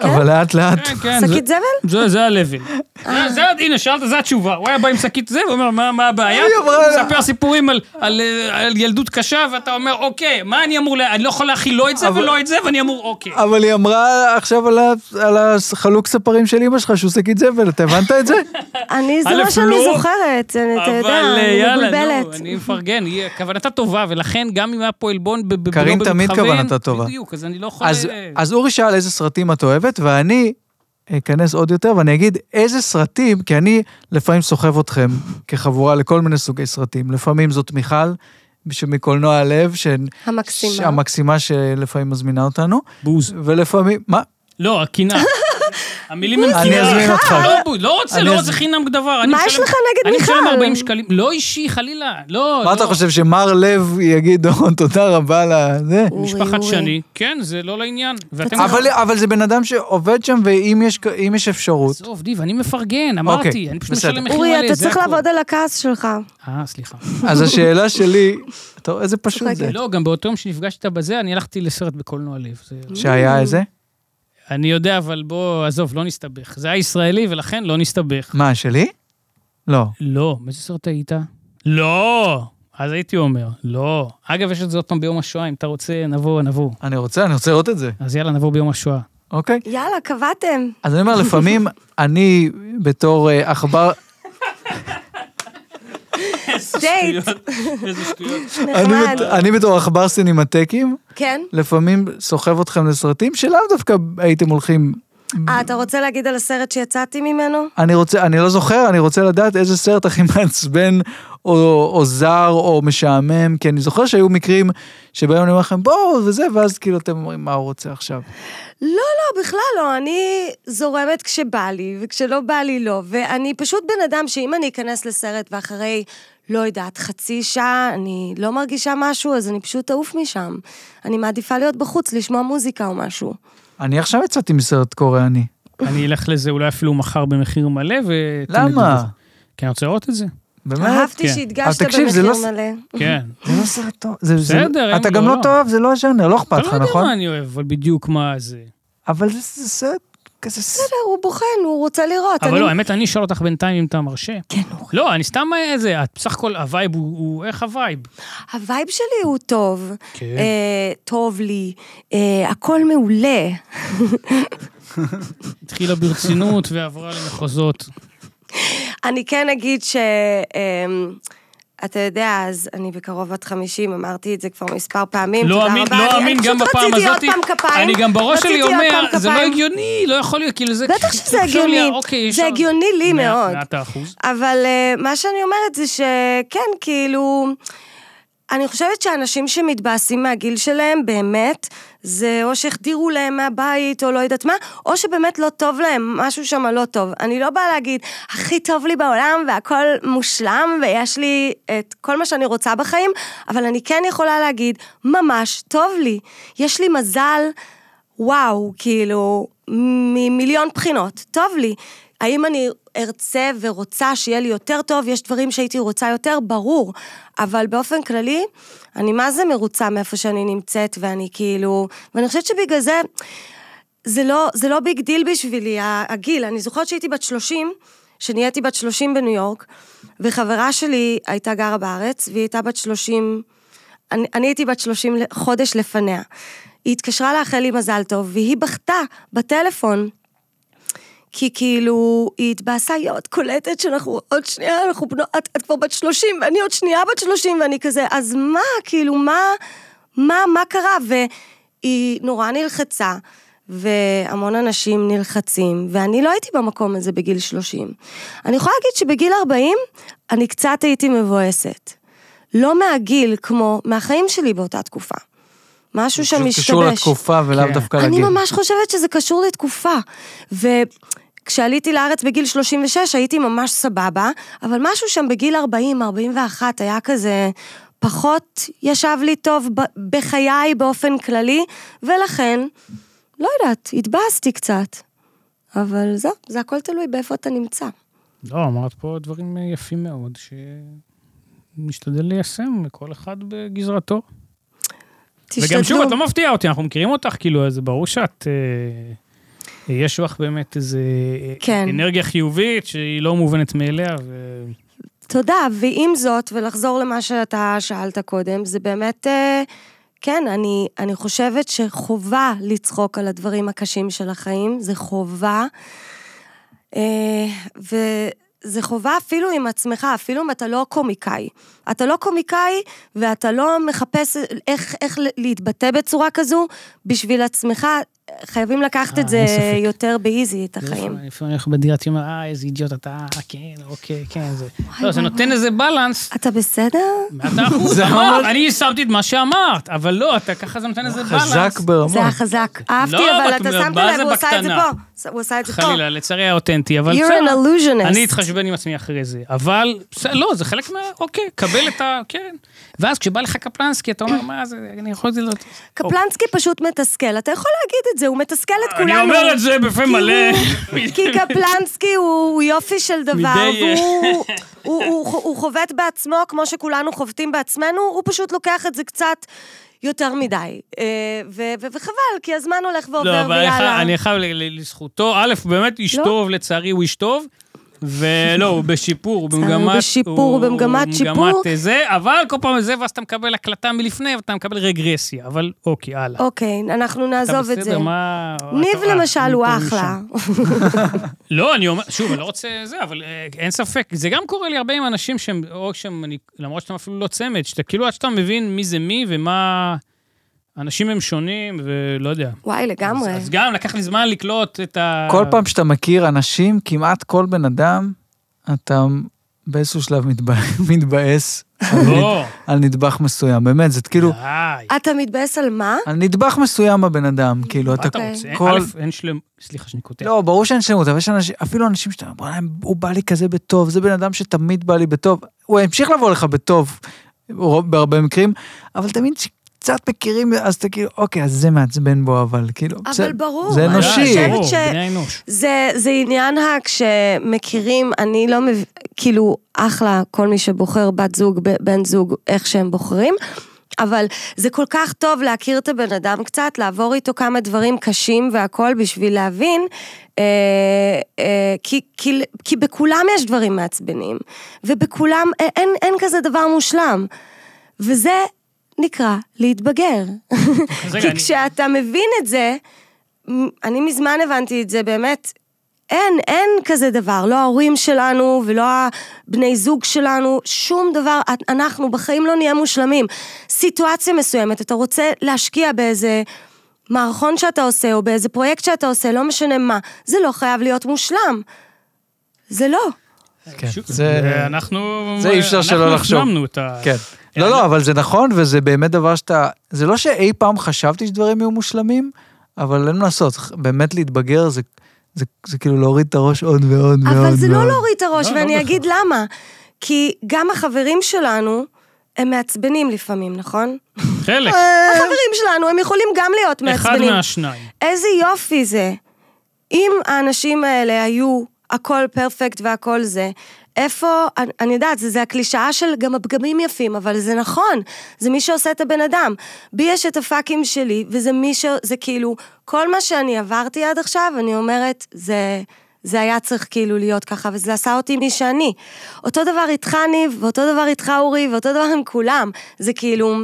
S1: אבל לאט לאט.
S2: כן, כן,
S3: שקית
S2: זה-
S3: זבל?
S2: זה- זה ה-level. זה-
S1: אה.
S2: זה- הנה, שאלת, זו התשובה. הוא היה בא עם שקית זה, ואומר, "מה- מה הבעיה?
S1: היא אמרה
S2: הוא
S1: לה-
S2: מספר סיפורים על- על אה, על ילדות קשה, ואתה אומר, אוקיי, מה אני אמור, לה- אני לא יכול להכיל לא את זה
S1: אבל-
S2: ולא את זה, ואני אמור, אוקיי.
S1: אבל היא אמרה עכשיו על ה- על החלוק ספרים של אמא שלך שהוא שקית זבל, אתה הבנת את זה?
S3: אני, זה
S2: א',
S3: מה שאני
S2: לא,
S3: זוכרת, אני- אתה יודע,
S2: אבל אה,
S3: אני
S2: יאללה, נו,
S3: מבולבלת.
S2: אני מפרגן, היא- כוונתה טובה, ולכן גם אם היה פה עלבון ב- ב- לא
S1: קארין תמיד
S2: במתכוון,
S1: כוונתה טובה.
S2: בדיוק, אז אני לא יכול...
S1: אז-
S2: אה,
S1: אז אורי שאל איזה סרטים את אוהבת, ואני אכנס עוד יותר ואני אגיד איזה סרטים, כי אני לפעמים סוחב אתכם כחבורה לכל מיני סוגי סרטים. לפעמים זאת מיכל, שמקולנוע הלב, ש-
S3: המקסימה.
S1: ש- המקסימה שלפעמים מזמינה אותנו,
S2: בוז.
S1: ולפעמים, מה?
S2: לא, הקנאה. המילים הם קנאה.
S1: אני אזמין אותך.
S2: לא, בוז, לא רוצה,
S1: אני
S2: לא
S1: אזמין.
S2: רוצה חינם דבר.
S3: מה יש לך נגד מיכל?
S2: אני משלם 40 שקלים. לא אישי, חלילה. לא,
S1: מה
S2: לא.
S1: אתה חושב, שמר לב יגיד, "או, תודה רבה ל... זה?
S3: אורי,
S2: משפחת
S3: אורי.
S2: שני, כן, זה לא לעניין. ואתם...
S1: אבל, אבל זה בן אדם שעובד שם, ואם יש, אם יש אפשרות...
S2: עזוב, דיב, אני מפרגן, אמרתי.
S1: אוקיי,
S2: אני פשוט
S1: בסדר.
S2: משלם מחיר מלא,
S3: אורי, אתה
S2: זה
S3: צריך
S2: הכל.
S3: לעבוד על הכעס שלך.
S2: אה, סליחה.
S1: אז השאלה שלי, אתה רואה איזה פשוט
S3: צוחקת.
S1: זה.
S2: לא, גם באותו יום שנפגשת בזה, אני הלכתי לסרט בקולנוע לב. זה-
S1: שהיה איזה?
S2: אני יודע, אבל בוא, עזוב, לא נסתבך. זה היה ישראלי, ולכן לא נסתבך.
S1: מה, שלי? לא.
S2: לא. באיזה סרט היית? לא! אז הייתי אומר, לא. אגב, יש את זה עוד פעם ביום השואה, אם אתה רוצה, נבוא, נבוא.
S1: אני רוצה, אני רוצה לראות את זה,
S2: אז יאללה, נבוא ביום השואה.
S1: אוקיי?
S3: יאללה, קבעתם.
S1: אז אני אומר, לפעמים אני בתור אה, עכבר...
S3: דייט,
S2: איזה שטויות.
S1: אני
S3: נחמד.
S1: בת- אני בתור עכבר סינמטקים,
S3: כן?
S1: לפעמים סוחב אתכם לסרטים שלאו דווקא הייתם הולכים...
S3: אה, אתה רוצה להגיד על הסרט שיצאתי ממנו?
S1: אני רוצה, אני לא זוכר, אני רוצה לדעת איזה סרט הכי מעצבן, או, או זר, או משעמם, כי אני זוכר שהיו מקרים שבהם אני אומר לכם, בואו, וזה, ואז כאילו אתם אומרים, מה הוא רוצה עכשיו?
S3: לא, לא, בכלל לא. אני זורמת כשבא לי, וכשלא בא לי, לא. ואני פשוט בן אדם שאם אני אכנס לסרט ואחרי, לא יודעת, חצי שעה, אני לא מרגישה משהו, אז אני פשוט אעוף משם. אני מעדיפה להיות בחוץ, לשמוע מוזיקה או משהו.
S1: אני עכשיו יצאתי מסרט קוריאני.
S2: אני אלך לזה אולי אפילו מחר במחיר מלא, ו...
S1: למה?
S2: כי אני רוצה לראות את זה.
S1: באמת?
S3: אהבתי
S2: כן.
S3: שהדגשת
S1: אבל תקשיב, זה
S3: במחיר
S1: לא ס-
S3: מלא.
S2: כן.
S1: זה לא סרט טוב. זה- זה-
S2: בסדר,
S1: אתה
S2: אין-
S1: גם
S2: לא,
S1: לא
S2: לא.
S1: תאהב, זה לא הז'אנר, לא אכפת
S2: אתה
S1: לך,
S2: לא יודע
S1: נכון?
S2: מה אני אוהב, אבל בדיוק מה זה.
S1: אבל זה זה סרט כזה... ס-
S3: בסדר, הוא בוחן, הוא רוצה לראות.
S2: אבל
S3: אני-
S2: לא, האמת, אני אשאל אותך בינתיים אם אתה מרשה.
S3: כן, הוא
S2: לא, אני סתם איזה, את בסך הכל, הווייב הוא- הוא... איך הווייב?
S3: הווייב שלי הוא טוב.
S2: כן.
S3: אה, טוב לי. אה, הכל מעולה.
S2: התחילה ברצינות ועברה למחוזות.
S3: אני כן אגיד ש... אמ, אתה יודע, אז אני בקרוב בת 50, אמרתי את זה כבר מספר פעמים.
S2: לא
S3: כן, תודה
S2: אמין,
S3: רבה.
S2: לא
S3: אני-
S2: אמין
S3: אני
S2: גם
S3: פשוט
S2: בפעם
S3: רציתי עוד
S2: הזאת.
S3: פעם כפיים.
S2: אני גם בראש שלי
S3: רציתי עוד
S2: אומר,
S3: פעם
S2: זה לא
S3: כפיים.
S2: הגיוני, לא יכול להיות, כאילו זה...
S3: בטח שזה
S2: חשוב לי,
S3: הגיוני.
S2: אוקיי,
S3: זה
S2: אפשר-
S3: הגיוני לי
S2: מאה-
S3: מאוד.
S2: מאת האחוז.
S3: אבל אה, מה שאני אומרת זה שכן, כאילו... אני חושבת שאנשים שמתבאסים מהגיל שלהם, באמת, זה או שהחדירו להם מהבית, או לא יודעת מה, או שבאמת לא טוב להם, משהו שם לא טוב. אני לא באה להגיד, הכי טוב לי בעולם, והכל מושלם, ויש לי את כל מה שאני רוצה בחיים, אבל אני כן יכולה להגיד, ממש טוב לי. יש לי מזל, וואו, כאילו, ממיליון בחינות, טוב לי. האם אני ארצה ורוצה שיהיה לי יותר טוב? יש דברים שהייתי רוצה יותר, ברור. אבל באופן כללי, אני מה זה מרוצה מאיפה שאני נמצאת, ואני כאילו... ואני חושבת שבגלל זה, זה לא, זה לא ביג דיל בשבילי, ה- הגיל. אני זוכרת שהייתי בת 30, שנהייתי בת 30 בניו יורק, וחברה שלי הייתה גרה בארץ, והיא הייתה בת 30... אני, אני הייתי בת 30 ל- חודש לפניה. היא התקשרה לאחל לי מזל טוב, והיא בכתה בטלפון. כי כאילו, היא התבאסה, היא עוד קולטת שאנחנו עוד שנייה, אנחנו בנות, את, את כבר בת 30, ואני עוד שנייה בת 30, ואני כזה, אז מה, כאילו, מה, מה, מה קרה? והיא נורא נלחצה, והמון אנשים נלחצים, ואני לא הייתי במקום הזה בגיל 30. אני יכולה להגיד שבגיל 40, אני קצת הייתי מבואסת. לא מהגיל, כמו מהחיים שלי באותה תקופה. משהו שם
S1: פשוט
S3: משתבש.
S1: קשור לתקופה ולאו
S2: כן.
S1: דווקא
S3: אני
S1: לגיל.
S3: ממש חושבת שזה קשור לתקופה. וכשעליתי לארץ בגיל 36 הייתי ממש סבבה, אבל משהו שם בגיל 40, 41 היה כזה פחות ישב לי טוב ב- בחיי באופן כללי, ולכן, לא יודעת, התבאסתי קצת. אבל זהו, זה הכל תלוי באיפה אתה נמצא.
S2: לא, אמרת פה דברים יפים מאוד, שנשתדל ליישם לכל אחד בגזרתו. וגם שוב, את לא מפתיעה אותי, אנחנו מכירים אותך, כאילו, אז ברור שאת... אה, יש לך באמת איזו
S3: כן.
S2: אנרגיה חיובית שהיא לא מובנת מאליה, ו...
S3: תודה, ועם זאת, ולחזור למה שאתה שאלת קודם, זה באמת, אה, כן, אני, אני חושבת שחובה לצחוק על הדברים הקשים של החיים, זה חובה. אה, וזה חובה אפילו עם עצמך, אפילו אם אתה לא קומיקאי. אתה לא קומיקאי ואתה לא מחפש איך, איך להתבטא בצורה כזו, בשביל עצמך חייבים לקחת
S2: אה,
S3: את זה
S2: אין ספק.
S3: יותר באיזי, את החיים.
S2: לפעמים אנחנו בדירת יום, אה, איזה אידיוט אתה, אה, כן, אוקיי, כן, זה... לא, זה
S3: וואי,
S2: נותן איזה בלנס.
S3: אתה בסדר?
S2: אתה אחוז, אמרת, אני יישמתי את מה שאמרת, אבל לא, אתה ככה זה נותן איזה בלנס.
S1: חזק ברמות.
S3: זה היה חזק. אהבתי, אבל
S2: בק-
S3: אתה שמת
S2: מה
S3: לב,
S2: זה
S3: הוא עשה את זה
S2: בקטנה?
S3: פה. הוא עשה את זה פה.
S2: חלילה, לצערי היה אותנטי, אבל
S3: You're an
S2: בסדר.
S3: illusionist.
S2: אני אתחשבן עם עצמי אחרי זה, אבל בסדר, לא, זה חלק מה... אוקיי, קבל את ה... כן. ואז כשבא לך קפלנסקי, אתה אומר, מה זה, אני יכול את זה... לא-"
S3: קפלנסקי פשוט מתסכל, אתה יכול להגיד את זה, הוא מתסכל את כולנו.
S2: אני אומר את זה בפה
S3: כי
S2: מלא.
S3: הוא- כי קפלנסקי הוא הוא יופי של דבר,
S2: מדי- אה.
S3: והוא הוא- הוא- הוא חובט בעצמו כמו שכולנו חובטים בעצמנו, הוא פשוט לוקח את זה קצת יותר מדי. אה, ו- ו- וחבל, כי הזמן הולך
S2: לא,
S3: ועובר,
S2: אבל אני חי-
S3: ויאללה.
S2: אני חייב ל- ל- לזכותו, א', באמת איש
S3: לא.
S2: טוב, לצערי הוא איש טוב. ולא, הוא בשיפור, הוא
S3: לצערי הוא
S2: במגמת...
S3: בשיפור, הוא במגמת שיפור.
S2: אה, זה, אבל כל פעם זה, ואז אתה מקבל הקלטה מלפני, ואתה מקבל רגרסיה. אבל אוקיי, הלאה.
S3: אוקיי, אנחנו
S2: אתה
S3: נעזוב את
S2: בסדר,
S3: זה.
S2: מה...
S3: ניב
S2: אתה- אה,
S3: למשל הוא
S2: מפה
S3: אחלה.
S2: משם. לא, אני אומר, שוב, אני לא רוצה זה, אבל אה, אין ספק. זה גם קורה לי הרבה עם אנשים שהם, או שהם, אני- למרות שאתם אפילו לא צמד, שאתה כאילו עד שאתה מבין מי זה מי ומה... אנשים הם שונים, ולא יודע.
S3: וואי, לגמרי.
S2: אז גם לקח לי זמן לקלוט את ה...
S1: כל פעם שאתה מכיר אנשים, כמעט כל בן אדם, אתה באיזשהו שלב מתבא- מתבאס על נד-
S2: לא,
S1: על נדבך מסוים. באמת, זה כאילו,
S2: די.
S3: אתה מתבאס על מה?
S1: על נדבך מסוים בבן אדם, כאילו,
S2: מה
S1: אתה
S2: אתה רוצה?
S1: כל...
S2: אוקיי. א', אין שלם... סליחה שאני קוטע.
S1: לא, ברור שאין שלמות, אבל יש אנשים, אפילו אנשים שאתה אומר, "בוא'נה, הוא בא לי כזה בטוב, זה בן אדם שתמיד בא לי בטוב. הוא המשיך לבוא לך בטוב, רוב- בהרבה מקרים, אבל תמיד שקצת מכירים, אז אתה כאילו, אוקיי, אז זה מעצבן בו, אבל כאילו,
S3: אבל
S1: בסדר,
S3: ברור,
S1: זה
S2: די,
S3: אני
S1: אנושי.
S3: חושבת
S2: ברור,
S3: ש-
S2: בני אנוש.
S3: זה, זה עניין ה... כשמכירים, אני לא מב... כאילו, אחלה, כל מי שבוחר בת זוג, ב- בן זוג, איך שהם בוחרים. אבל זה כל כך טוב להכיר את הבן אדם קצת, לעבור איתו כמה דברים קשים והכול בשביל להבין, אה, אה, כי, כי, כי בכולם יש דברים מעצבנים, ובכולם אה, אין, אין כזה דבר מושלם. וזה נקרא להתבגר.
S2: אז רגע,
S3: כי
S2: אני-
S3: כשאתה מבין את זה, מ- אני מזמן הבנתי את זה, באמת, אין, אין כזה דבר. לא ההורים שלנו ולא הבני זוג שלנו, שום דבר. את- אנחנו בחיים לא נהיה מושלמים. סיטואציה מסוימת, אתה רוצה להשקיע באיזה מערכון שאתה עושה, או באיזה פרויקט שאתה עושה, לא משנה מה. זה לא חייב להיות מושלם. זה לא.
S1: כן,
S2: שוב,
S1: זה-
S2: אנחנו...
S1: זה אי אפשר שלא לחשוב.
S2: אנחנו הפנמנו את ה...
S1: כן. לא, לא, אבל זה נכון, וזה באמת דבר שאתה... זה לא שאי פעם חשבתי שדברים יהיו מושלמים, אבל אין מה לעשות, באמת להתבגר זה... זה, זה כאילו להוריד את הראש עוד ועוד ועוד.
S3: אבל זה לא
S1: ועוד.
S3: להוריד את הראש,
S2: לא, לא
S3: ואני
S2: בהכרח.
S3: אגיד למה. כי גם החברים שלנו, הם מעצבנים לפעמים, נכון?
S2: חלק,
S3: החברים שלנו, הם יכולים גם להיות
S2: אה. אחד
S3: מעצבנים.
S2: מהשניים.
S3: איזה יופי זה. אם האנשים האלה היו הכל פרפקט והכל זה, איפה, אני- אני יודעת, זה, זה הקלישאה של גם הפגמים יפים, אבל זה נכון, זה מי שעושה את הבן אדם. בי יש את הפאקים שלי, וזה מי ש... זה כאילו, כל מה שאני עברתי עד עכשיו, אני אומרת, זה... זה היה צריך כאילו להיות ככה, וזה עשה אותי מי שאני. אותו דבר איתך, ניב, ואותו דבר איתך, אורי, ואותו דבר עם כולם. זה כאילו,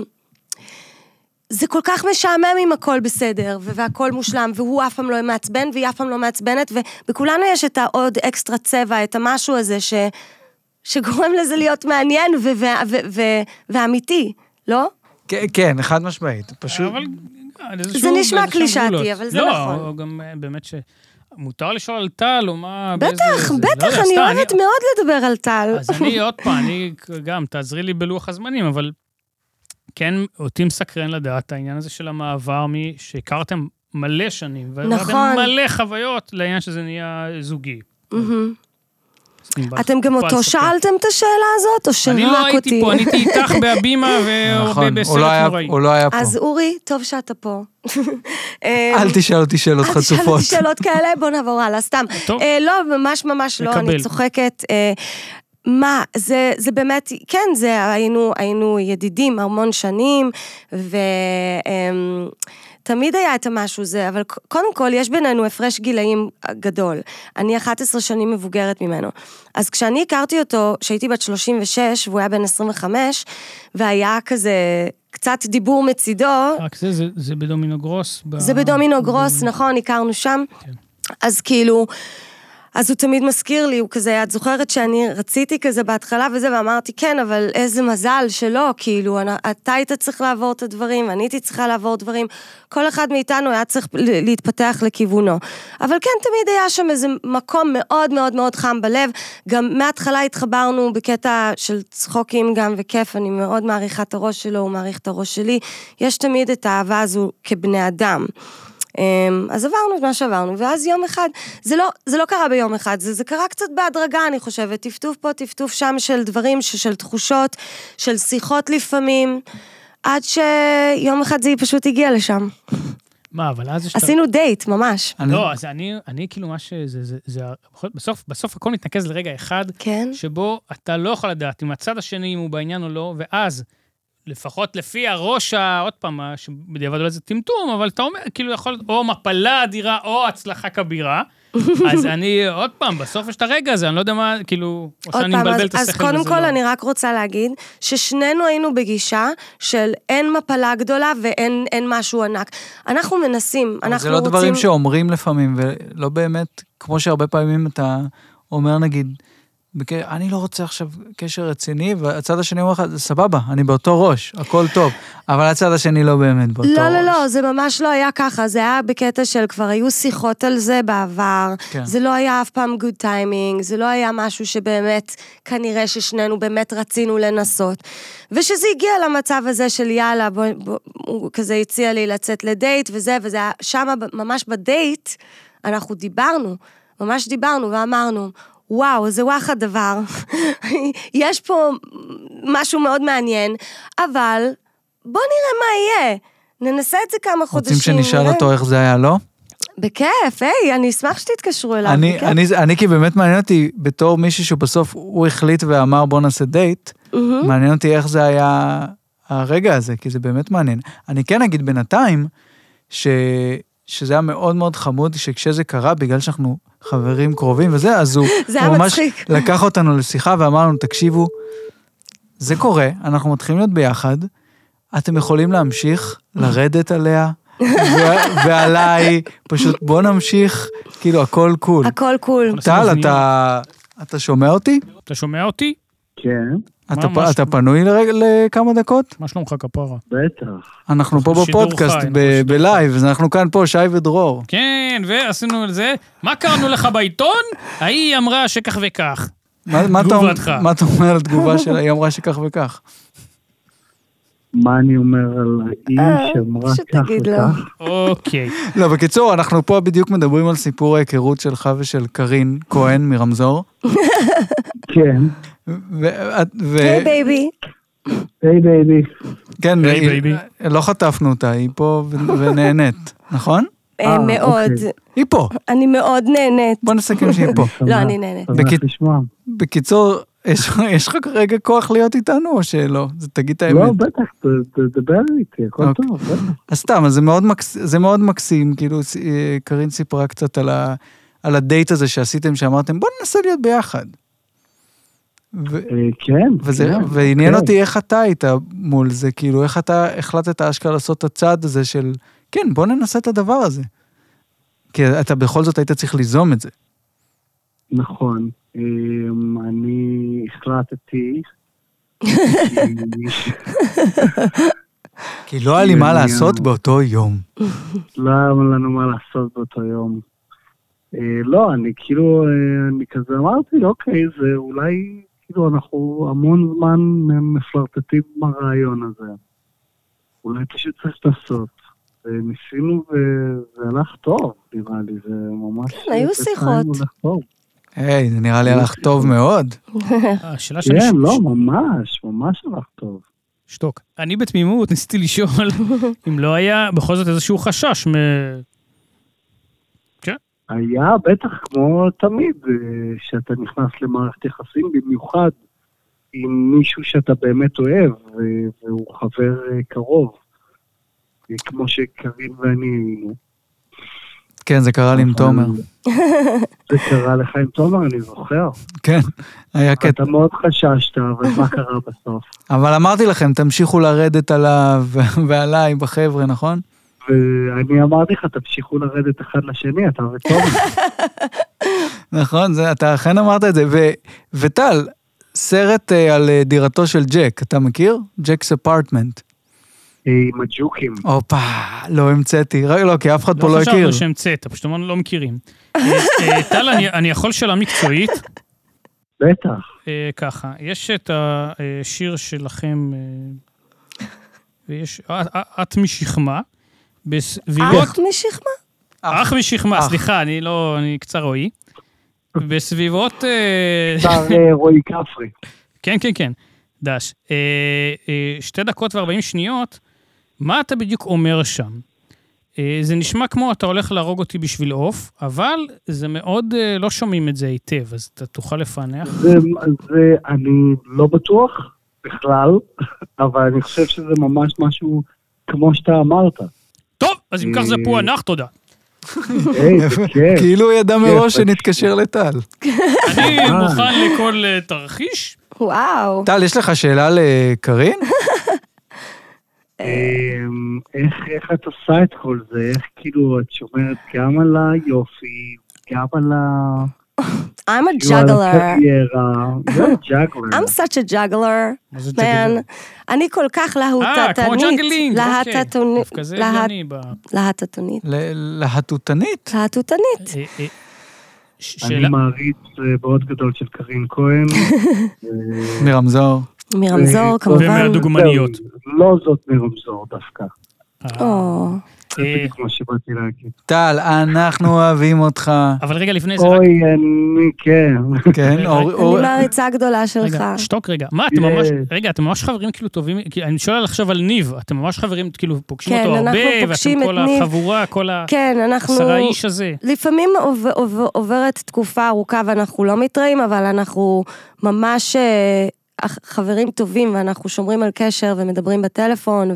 S3: זה כל כך משעמם אם הכל בסדר, ו- והכל מושלם, והוא אף פעם לא מעצבן, והיא אף פעם לא מעצבנת, ובכולנו יש את העוד אקסטרה צבע, את המשהו הזה ש... שגורם לזה להיות מעניין ו- ו- ו- ו- ואמיתי, לא?
S1: כן, כן, חד משמעית. פשוט...
S2: אבל על איזשהו-
S3: זה נשמע
S2: באיזשהם
S3: קלישאתי,
S2: גבולות.
S3: אבל זה נכון.
S2: לא, גם אה, באמת ש... מותר לשאול על טל, או מה... באיזה-
S3: בטח,
S2: זה- לא
S3: בטח,
S2: יודע,
S3: אני
S2: סתם,
S3: אוהבת מאוד לדבר על טל.
S2: אז אני עוד פעם, אני גם, תעזרי לי בלוח הזמנים, אבל כן, אותי מסקרן לדעת העניין הזה של המעבר, מ- שהכרתם מלא שנים, ועברתם
S3: נכון.
S2: מלא חוויות לעניין שזה נהיה זוגי.
S3: מהמם.
S2: מתעסקים בה.
S3: אתם גם
S2: פה
S3: אותו
S2: הספק.
S3: שאלתם את השאלה הזאת, או
S2: אני
S3: שרק אותי?
S2: לא הייתי פה, אני הייתי איתך בהבימה
S1: נכון, הוא
S2: ובסרט
S1: לא היה-
S2: נוראי.
S1: הוא לא היה פה.
S3: אז אורי, טוב שאתה פה. אמ,
S1: אל תשאל אותי שאלות
S3: אל אה, תשאל
S1: חצופות.
S3: אותי שאלות כאלה, בוא נעבור הלאה, סתם.
S2: טוב.
S3: אה, לא, ממש ממש לא,
S2: מקבל.
S3: אני צוחקת. אה, מה, זה, זה באמת, כן, זה, היינו, היינו ידידים המון שנים, ותמיד היה את המשהו הזה, אבל ק- קודם כל, יש בינינו הפרש גילאים גדול. אני 11 שנים מבוגרת ממנו. אז כשאני הכרתי אותו, כשהייתי בת 36, והוא היה בן 25, והיה כזה קצת דיבור מצידו,
S2: רק זה, זה- זה בדומינו גרוס. ב-
S3: זה בדומינו גרוס, נכון, הכרנו שם. אז כאילו, אז הוא תמיד מזכיר לי, הוא כזה, את זוכרת שאני רציתי כזה בהתחלה וזה, ואמרתי, כן, אבל איזה מזל שלא, כאילו, אנ- אתה היית צריך לעבור את הדברים, אני הייתי צריכה לעבור דברים, כל אחד מאיתנו היה צריך ל- להתפתח לכיוונו. אבל כן, תמיד היה שם איזה מקום מאוד מאוד מאוד חם בלב, גם מההתחלה התחברנו בקטע של צחוקים גם וכיף, אני מאוד מעריכה את הראש שלו, הוא מעריך את הראש שלי, יש תמיד את האהבה הזו כבני אדם. אמ, אז עברנו את מה שעברנו, ואז יום אחד, זה לא, זה לא קרה ביום אחד, זה, זה קרה קצת בהדרגה, אני חושבת, טפטוף פה, טפטוף שם של דברים, ש- של תחושות, של שיחות לפעמים, עד שיום אחד זה פשוט הגיע לשם.
S2: מה, אבל אז יש... את ה-
S3: עשינו דייט, ממש.
S1: אני-
S2: לא, אז אני, אני כאילו מה שזה, זה, זה, זה, בסוף, בסוף הכל מתנקז לרגע אחד,
S3: כן?
S2: שבו אתה לא יכול לדעת אם הצד השני, אם הוא בעניין או לא, ואז, לפחות לפי הראש, ה- עוד פעם, ה- שבדיעבד אולי זה טמטום, אבל אתה אומר, כאילו יכול להיות או מפלה אדירה או הצלחה כבירה. אז אני, עוד פעם, בסוף יש את הרגע הזה, אני לא יודע מה, כאילו, או
S3: עוד
S2: שאני
S3: פעם,
S2: מבלבל
S3: אז,
S2: את השכל.
S3: אז קודם
S2: וזה
S3: כל
S2: לא.
S3: אני רק רוצה להגיד ששנינו היינו בגישה של אין מפלה גדולה ואין אין משהו ענק. אנחנו מנסים,
S1: אבל
S3: אנחנו
S1: זה לא
S3: רוצים...
S1: דברים שאומרים לפעמים, ולא באמת, כמו שהרבה פעמים אתה אומר, נגיד, בק- אני לא רוצה עכשיו קשר רציני, והצד השני אומר לך, "זה סבבה, אני באותו ראש, הכל טוב, אבל הצד השני לא באמת באותו ראש.
S3: לא, לא, לא, זה ממש לא היה ככה, זה היה בקטע של כבר היו שיחות על זה בעבר.
S1: כן.
S3: זה לא היה אף פעם גוד טיימינג, זה לא היה משהו שבאמת, כנראה ששנינו באמת רצינו לנסות. ושזה הגיע למצב הזה של יאללה, בוא, בוא, הוא כזה הציע לי לצאת לדייט וזה, וזה היה שמה, ב- ממש בדייט, אנחנו דיברנו, ממש דיברנו ואמרנו, וואו, זה וואחד דבר. יש פה משהו מאוד מעניין, אבל בוא נראה מה יהיה. ננסה את זה כמה
S1: רוצים
S3: חודשים.
S1: שנשאל
S3: נראה.
S1: אותו איך זה היה, לא?
S3: בכיף, היי, אני אשמח שתתקשרו אליו.
S1: אני,
S3: בכיף.
S1: אני, אני כי באמת מעניין אותי, בתור מישהי שבסוף הוא החליט ואמר בוא נעשה דייט,
S3: מהמם.
S1: מעניין אותי איך זה היה הרגע הזה, כי זה באמת מעניין. אני כן אגיד בינתיים, ש, שזה היה מאוד מאוד חמוד, שכשזה קרה, בגלל שאנחנו חברים קרובים וזה, אז הוא,
S3: זה היה
S1: הוא ממש
S3: מצחיק.
S1: לקח אותנו לשיחה ואמר לנו, תקשיבו, זה קורה, אנחנו מתחילים להיות ביחד, אתם יכולים להמשיך לרדת עליה. ו- ועליי, פשוט בוא נמשיך, כאילו הכל קול.
S3: הכל קול.
S1: טל, אתה, אתה שומע אותי?
S2: אתה שומע אותי?
S4: כן,
S1: אתה, פ,
S2: ממש. לא.
S1: אתה פנוי לרג, לכמה דקות?
S2: מה שלומך כפרה?
S4: בטח.
S1: אנחנו פה
S2: בשידור
S1: בפודקאסט,
S2: חי, לא. אנחנו
S1: ב-
S2: בשידור
S1: בלייב, אז אנחנו כאן פה, שי ודרור.
S2: כן, ועשינו על זה. מה קראנו לך בעיתון? ההיא אמרה שכך וכך.
S1: מה, מה, אתה,
S2: תגובתך.
S1: מה אתה אומר על התגובה שלה? היא אמרה שכך וכך.
S4: מה אני אומר על האי שאמרה כך
S3: אה, שתגיד לו.
S4: וכך?
S2: אוקיי.
S1: לא, בקיצור, אנחנו פה בדיוק מדברים על סיפור ההיכרות שלך ושל קארין כהן מרמזור.
S4: כן.
S1: ואת- ו-
S3: היי בייבי.
S4: היי בייבי.
S1: כן,
S2: היי,
S1: היא-
S2: בייבי.
S1: לא חטפנו אותה, היא פה ו- ונהנית, נכון?
S3: אה,
S4: אה,
S3: מאוד.
S4: אוקיי.
S1: היא פה,
S3: אני מאוד נהנית.
S1: בוא נסכם שהיא פה.
S3: לא,
S4: שמח-
S3: אני נהנית.
S1: בקיצ-
S4: שמח לשמוע.
S1: בקיצור, יש, יש לך כרגע כוח להיות איתנו או שלא? זה- תגיד את האמת.
S4: לא, בטח, ת- תדבר איתי, הכל
S1: אה, אוקיי.
S4: טוב, בטח.
S1: אז סתם, אז זה מאוד, מקס... זה מאוד מקסים, כאילו ס- אה, קארין סיפרה קצת על, ה... על הדייט הזה שעשיתם, שאמרתם, בוא ננסה להיות ביחד. ו...
S4: אה, כן.
S1: וזה,
S4: כן,
S1: ועניין
S4: כן.
S1: אותי איך אתה היית מול זה, כאילו, איך אתה החלטת אשכרה לעשות את הצעד הזה של, כן, בוא ננסה את הדבר הזה. כי אתה בכל זאת היית צריך ליזום את זה.
S4: נכון. אמ, אני החלטתי... כי-
S1: כי לא היה לי מה
S4: מעניין.
S1: לעשות באותו יום.
S4: לא היה לנו מה לעשות באותו יום. אה, לא, אני כאילו, אה, אני כזה אמרתי לו, אוקיי, זה אולי, כאילו, אנחנו המון זמן מפלרטטים עם הרעיון הזה. אולי פשוט צריך לעשות. וניסינו, וזה הלך טוב, נראה לי, זה ממש...
S3: כן, היו
S4: בינתיים
S3: שיחות.
S4: הולך טוב.
S1: היי, זה נראה לי הלך טוב מאוד.
S2: השאלה שאני...
S4: כן, לא, ממש, ממש הלך טוב.
S2: שתוק. אני בתמימות ניסיתי לשאול אם לא היה בכל זאת איזשהו חשש מ...
S4: היה בטח כמו תמיד, אה, שאתה נכנס למערכת יחסים, במיוחד עם מישהו שאתה באמת אוהב, אה, והוא חבר אה, קרוב, אה, כמו שקרין ואני היינו.
S1: כן, זה קרה לי
S4: נכון.
S1: עם תומר.
S4: אה, זה קרה לך עם תומר, אני זוכר.
S1: כן, היה קטע.
S4: אתה מאוד חששת, אבל מה קרה בסוף?
S1: אבל אמרתי לכם, תמשיכו לרדת עליו ועליי בחבר'ה, נכון?
S4: ואני אמרתי לך, תמשיכו לרדת אחד לשני, אתה ותומר.
S1: נכון, זה, אתה אכן אמרת את זה. ו, וטל, סרט אה, על אה, דירתו של ג'ק, אתה מכיר? ג'ק's apartment.
S4: אה, עם הג'וקים.
S1: הופה, לא המצאתי, רק לא, כי אף אחד פה לא הכיר.
S2: חשבנו שהמצאת, פשוט אמרנו לא מכירים. אה, אה, טל, אני- אני יכול שאלה מקצועית?
S4: בטח.
S2: אה, ככה, יש את השיר שלכם, אה, ויש, "את- את- את משכמה, בסביבות,
S3: אח משכמה?
S2: אח משכמה,
S1: אח.
S2: סליחה, אני לא, אני קצר רואי. בסביבות, אה,
S4: שר אה, רועי כפרי.
S2: כן, כן, כן, דש. אה, אה, שתי דקות וארבעים שניות, מה אתה בדיוק אומר שם? אה, זה נשמע כמו אתה הולך להרוג אותי בשביל עוף, אבל זה מאוד, אה, לא שומעים את זה היטב, אז אתה תוכל לפענח.
S4: זה, זה, אני לא בטוח בכלל, אבל אני חושב שזה ממש משהו כמו שאתה אמרת.
S2: טוב, אז אם כך זה
S4: אה,
S2: פוענח, תודה.
S4: היי, זה כיף.
S1: כאילו הוא ידע מראש
S4: כן,
S1: שנתקשר לטל.
S4: אה,
S2: אני מוכן לכל אה, תרחיש.
S3: וואו.
S1: טל, יש לך שאלה לקארין?
S4: אמ, איך, איך את עושה את כל זה? איך כאילו את שומרת גם על היופי, גם על ה...
S3: I'm a
S4: כאילו, על
S3: juggler.
S4: הקריירה. You're a juggler.
S3: I'm such a juggler,
S2: מה זה
S3: man.
S2: juggler?
S3: אני כל כך
S2: אה,
S3: להטטנית.
S2: כמו ג'אגלינג, אוקיי.
S3: להטטוני-
S2: דווקא זה
S3: להט-
S2: הגיוני ב... אה,
S3: להטטונית.
S1: ל- להטוטנית?
S3: להטוטנית.
S2: אה, אה, ש-
S4: אני
S2: שאלה,
S4: מעריץ אה, מאוד גדול של קרין כהן. אה,
S1: מרמזור.
S3: מרמזור,
S4: אה,
S3: כמובן.
S2: ומהדוג- דוגמניות.
S4: זהו, לא זאת מרמזור דווקא.
S2: אה,
S3: או,
S4: זה
S2: אה,
S4: בדיוק מה שבאתי להגיד.
S1: טל, אנחנו אוהבים אותך.
S2: אבל רגע לפני זה, רק-
S4: אוי, אני, כן.
S1: כן, אור- אור-
S3: אני מעריצה הגדולה שלך.
S2: רגע, שתוק רגע. מה, אתם ממש,
S4: יש.
S2: רגע, אתם ממש חברים כאילו טובים, כאילו, אני שואל עכשיו על ניב, אתם ממש חברים, כאילו, פוגשים
S3: כן,
S2: אותו
S3: אנחנו
S2: הרבה,
S3: פוגשים
S2: ואתם
S3: את
S2: כל
S3: ניב.
S2: החבורה, כל
S3: כן, אנחנו...
S2: העשרה איש הזה.
S3: לפעמים עוב, עוב, עוברת תקופה ארוכה ואנחנו לא מתראים, אבל אנחנו ממש אה, אח- חברים טובים, ואנחנו שומרים על קשר ומדברים בטלפון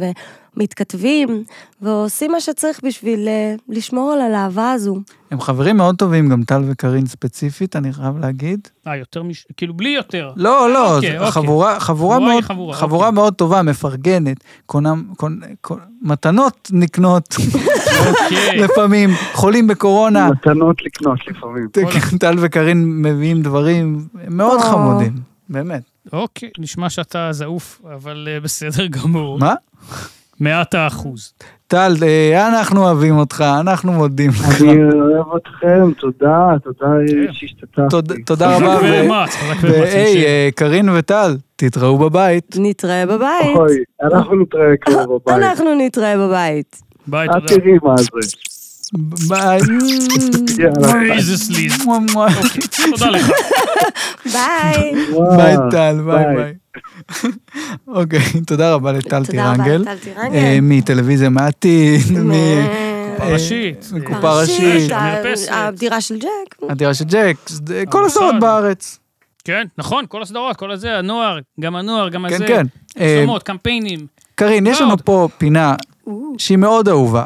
S3: ומתכתבים, ועושים מה שצריך בשביל אה, לשמור על הלהבה הזו.
S1: הם חברים מאוד טובים, גם טל וקארין ספציפית, אני חייב להגיד.
S2: אה, יותר מש... כאילו, בלי יותר.
S1: לא, לא,
S2: אוקיי,
S1: זה
S2: אוקיי.
S1: חבורה, חבורה
S2: חבורה היא
S1: מאוד,
S2: חבורה,
S1: חבורה
S2: אוקיי.
S1: מאוד טובה, מפרגנת, קונה, קונה, קונה, מתנות נקנות לא.
S2: אוקיי.
S1: לפעמים, חולים בקורונה, כן,
S4: מתנות לקנות לפעמים.
S1: טל וקארין מביאים דברים מאוד
S3: או.
S1: חמודים, באמת.
S2: אוקיי, נשמע שאתה זעוף, אבל אה, בסדר גמור.
S1: מה?
S2: מעט האחוז.
S1: טל, אה, אנחנו אוהבים אותך, אנחנו מודים לך.
S4: אני אוהב אתכם, תודה, תודה
S2: כן.
S4: שהשתתפתי.
S1: תודה- תודה רבה.
S2: חזק
S1: ו-
S2: ואמץ, חזק ואמץ.
S1: והי, אה, קארין וטל, תתראו בבית.
S3: נתראה בבית.
S4: אוי, אנחנו נתראה כבר בבית.
S3: אנחנו נתראה בבית.
S2: ביי,
S4: את
S2: תודה.
S4: תראי מה זה.
S1: ביי.
S4: יאללה.
S2: איזה סליז.
S1: מואה, מואה.
S2: אוקיי, תודה לך.
S1: אה,
S3: ביי.
S4: וואו.
S1: ביי טל, ביי
S4: אה, ביי.
S1: ביי. אוקיי, תודה רבה לטל
S3: תודה רבה,
S1: טירנגל.
S3: טל
S1: אה,
S3: טירנגל.
S1: מטלוויזיה מעתיד,
S2: קופה ראשית.
S1: מקופה קופה ראשית. ראשית,
S3: ה-
S2: אה, מרפסת.
S3: הדירה של ג'ק.
S1: מהדירה של ג'ק, זה- כל הסרט
S2: המוסד.
S1: בארץ.
S2: כן, נכון, כל הסדרות, כל הזה, הנוער, גם הנוער, גם
S1: כן,
S2: הזה.
S1: כן. אה,
S2: פרסומות, קמפיינים.
S1: קארין, יש לנו
S2: מאוד.
S1: פה פינה שהיא מאוד אהובה.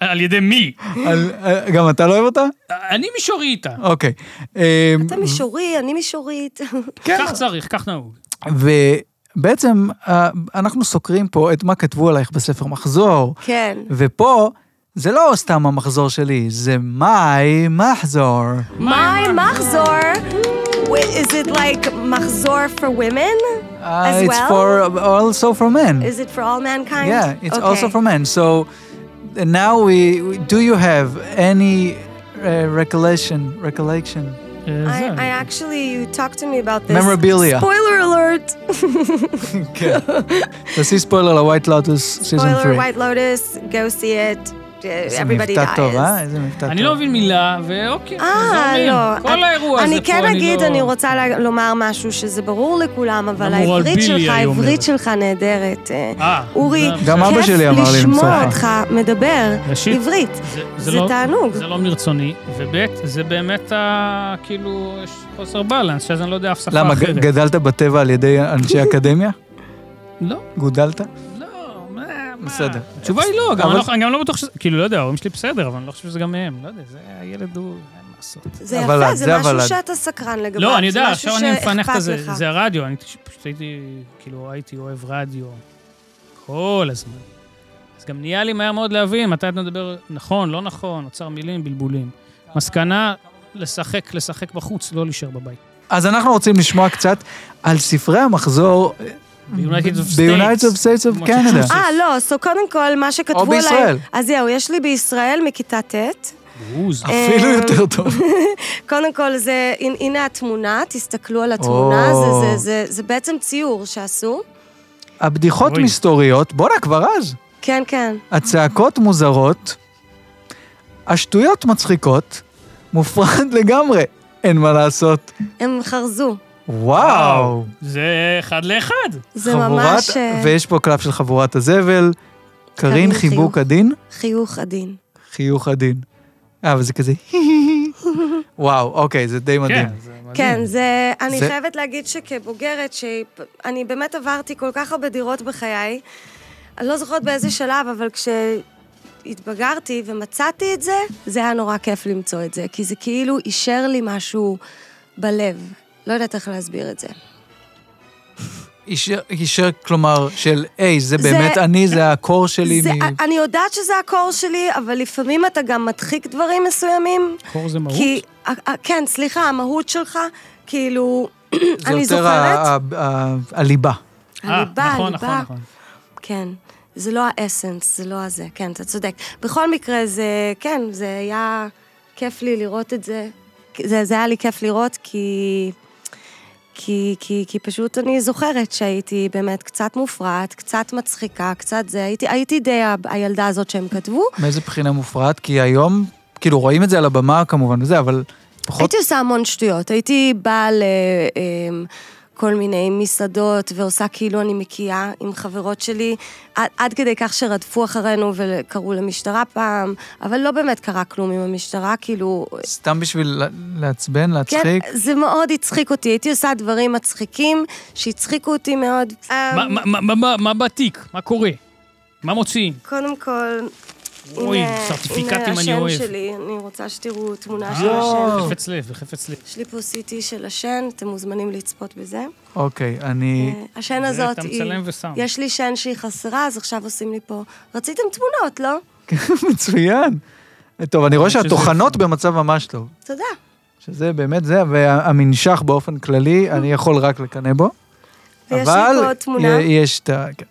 S2: על ידי מי?
S1: על- אה, גם אתה לא אוהב אותה?
S2: אני מישורי איתה.
S1: אוקיי. אה,
S3: אתה מישורי, אני מישורית.
S1: כן.
S2: כך צריך, כך נהוג.
S1: ובעצם אה, אנחנו סוקרים פה את מה כתבו עלייך בספר מחזור,
S3: כן.
S1: ופה זה לא סתם המחזור שלי, זה מי מחזור.
S3: My מחזור, Wait, is it like מחזור for women?
S1: Uh,
S3: As
S1: it's
S3: well?
S1: for also for men.
S3: Is it for all mankind?
S1: Yeah, it's
S3: Okay.
S1: also for men. So uh, now we, we- do you have any uh, recollection? Recollection?
S3: I,
S2: אה, זה.
S3: I actually, you talked to me about this.
S1: Memorabilia.
S3: Spoiler alert.
S1: כן. תעשי ספוילר ל-White Lotus season
S3: Spoiler,
S1: 3.
S3: White Lotus, go see it.
S1: איזה
S3: everybody
S1: מבטא טוב, אה?
S3: dies.
S1: איזה מבטא טוב.
S2: אני לא מבין מילה, ואוקיי, אז
S3: אה,
S2: אומרים.
S3: לא.
S2: כל האירוע הזה
S3: אני
S2: פה,
S3: כן
S2: אני
S3: אגיד,
S2: לא-
S3: אני רוצה ל- לומר משהו שזה ברור לכולם, אבל
S2: אמור על
S3: העברית
S2: בילי,
S3: שלך,
S2: היא
S3: העברית
S2: אומרת.
S3: שלך נהדרת. אה,
S2: אה,
S3: אורי,
S2: זה-
S1: גם אבא
S3: כיף
S1: שלי אמר לי
S3: לשמוע
S1: למצוא.
S3: אותך מדבר
S2: ראשית,
S3: עברית.
S2: זה-
S3: זה
S2: לא-
S3: תענוג.
S2: זה לא מרצוני, וב' זה באמת ה... כאילו, יש חוסר בלנס, שאז אני לא יודע אף שפה
S1: למה, ג-
S2: אחרת.
S1: גדלת בטבע על ידי אנשי אקדמיה?
S2: לא,
S1: גודלת?
S2: לא, מה... מה?
S1: בסדר.
S2: התשובה היא לא, גם
S1: אבל-
S2: אני לא- אני גם לא בטוח שזה... כאילו, לא יודע, ההורים שלי בסדר, אבל אני לא חושב שזה גם מהם. לא יודע, זה הילד הוא... אין מה לעשות.
S3: זה
S1: אבל
S3: יפה,
S1: את,
S3: זה
S1: זה
S3: משהו
S1: אבל את.
S3: שאתה סקרן לגביו.
S2: לא, אני
S3: זה
S2: יודע,
S3: משהו
S2: עכשיו אני מפענח את
S3: שאכפת
S2: זה,
S3: לך.
S2: זה הרדיו, אני פשוט הייתי, כאילו, הייתי אוהב רדיו כל הזמן. אז גם נהיה לי מהר מאוד להבין מתי אתה מדבר נכון, לא נכון, אוצר מילים, בלבולים. מסקנה, לשחק, לשחק בחוץ, לא להישאר בבית.
S1: אז אנחנו רוצים לשמוע קצת על ספרי המחזור
S2: ב-United of States.
S1: ב-United of States of Canada.
S2: מסקנה.
S3: אה, לא, so קודם כל, מה שכתבו
S1: או
S3: עליי...
S1: בישראל.
S3: אז זהו, יש לי בישראל מכיתה ט'.
S2: בוז.
S3: אה.
S1: אפילו יותר טוב.
S3: קודם כל, זה, הנה- הנה התמונה, תסתכלו על התמונה, זה,
S1: או.
S3: זה, זה, זה בעצם ציור שעשו.
S1: הבדיחות
S2: אוי.
S1: מסתוריות, בואנה כבר אז.
S3: כן, כן.
S1: הצעקות מוזרות, השטויות מצחיקות, מופרד לגמרי, אין מה לעשות.
S3: הם חרזו.
S1: וואו.
S2: זה אחד לאחד.
S3: זה
S1: חבורת-
S3: ממש אה,
S1: ויש פה קלף של חבורת הזבל, קרין
S3: קרין,
S1: חיבוק
S3: חיוך.
S1: עדין,
S3: חיוך עדין.
S1: חיוך עדין. אה, וזה כזה... וואו, אוקיי, זה די מדהים.
S2: כן, זה מדהים.
S3: כן, זה... אני
S1: זה-
S3: חייבת להגיד שכבוגרת, שאני באמת עברתי כל כך הרבה דירות בחיי, אני לא זוכרת באיזה שלב, אבל כשהתבגרתי ומצאתי את זה, זה היה נורא כיף למצוא את זה, כי זה כאילו אישר לי משהו בלב. לא יודעת איך להסביר את זה.
S1: אישר- אישר, כלומר, של, היי, זה באמת אני, זה הקור שלי.
S3: זה, אה,
S1: מ-
S3: אני יודעת שזה הקור שלי, אבל לפעמים אתה גם מדחיק דברים מסוימים.
S2: קור זה מהות.
S3: כי, ה- ה- כן, סליחה, המהות שלך, כאילו,
S1: זה
S3: אני
S1: יותר
S3: זוכרת,
S1: ה- ה- ה- הליבה.
S2: אה,
S3: הליבה,
S2: נכון, נכון,
S3: הליבה,
S2: נכון.
S3: כן. זה לא האסנס, זה לא הזה, כן, אתה צודק. בכל מקרה, זה, כן, זה היה כיף לי לראות את זה. זה, זה היה לי כיף לראות, כי... כי, כי, כי פשוט אני זוכרת שהייתי באמת קצת מופרעת, קצת מצחיקה, קצת זה. הייתי, הייתי די ה- הילדה הזאת שהם כתבו.
S1: מאיזה בחינה מופרעת? כי היום, כאילו, רואים את זה על הבמה כמובן וזה, אבל פחות...
S3: הייתי עושה המון שטויות. הייתי באה לכל מיני מסעדות ועושה כאילו אני מקיאה עם חברות שלי, עד, עד כדי כך שרדפו אחרינו וקראו למשטרה פעם, אבל לא באמת קרה כלום עם המשטרה, כאילו...
S1: סתם בשביל לה- לעצבן,
S3: כן,
S1: להצחיק.
S3: זה מאוד הצחיק אותי. הייתי עושה דברים מצחיקים שהצחיקו אותי מאוד. אמ,
S2: מה- מה- מה- מה- מה- מה בתיק? מה קורה? מה מוציאים?
S3: קודם כל,
S2: אוי,
S3: הנה-
S2: סרטיפיקטים
S3: הנה
S2: אני אוהב. אה.
S3: השן שלי, אני רוצה שתראו תמונה של
S1: יואו.
S3: השן.
S2: בחפץ לב, בחפץ לב.
S3: יש לי פה CT של השן, אתם מוזמנים לצפות בזה.
S1: אוקיי, אני...
S3: אה, השן
S2: אה. זה
S3: הזאת
S2: אתה
S3: היא...
S2: מצלם ושם.
S1: נכון.
S3: יש לי שן שהיא חסרה, אז עכשיו עושים לי פה... רציתם תמונות, לא?
S1: מצוין. טוב, אני רואה
S2: שזה
S1: שהטוחנות במצב ממש טוב.
S3: תודה.
S1: שזה באמת זה, והמנשך באופן כללי, אני יכול רק לקנא בו.
S3: Mm. ויש
S1: אבל
S3: לי פה תמונה,
S1: י- יש את ה... כן.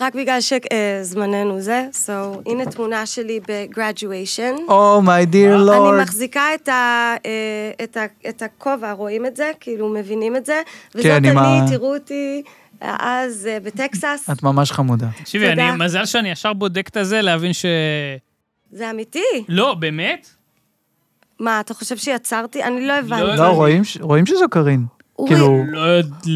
S3: רק בגלל שזמננו זה, so הנה תמונה שלי ב-graduation.
S1: Oh my dear
S3: אני
S1: lord.
S3: מחזיקה את, ה, אה, את, ה, את הכובע, רואים את זה? כאילו, מבינים את זה? וזאת
S1: כן,
S3: אני,
S1: עם ה-
S3: תראו אותי אה, אז אה, בטקסס.
S1: את ממש חמודה.
S2: תקשיבי,
S3: תודה.
S2: אני- מזל שאני ישר בודק את הזה, להבין ש...
S3: זה אמיתי.
S2: לא, באמת?
S3: מה, אתה חושב שיצרתי? אני לא הבנתי.
S1: לא, רואים ש- רואים שזו קרין.
S3: אורי,
S1: כאילו...
S2: לא...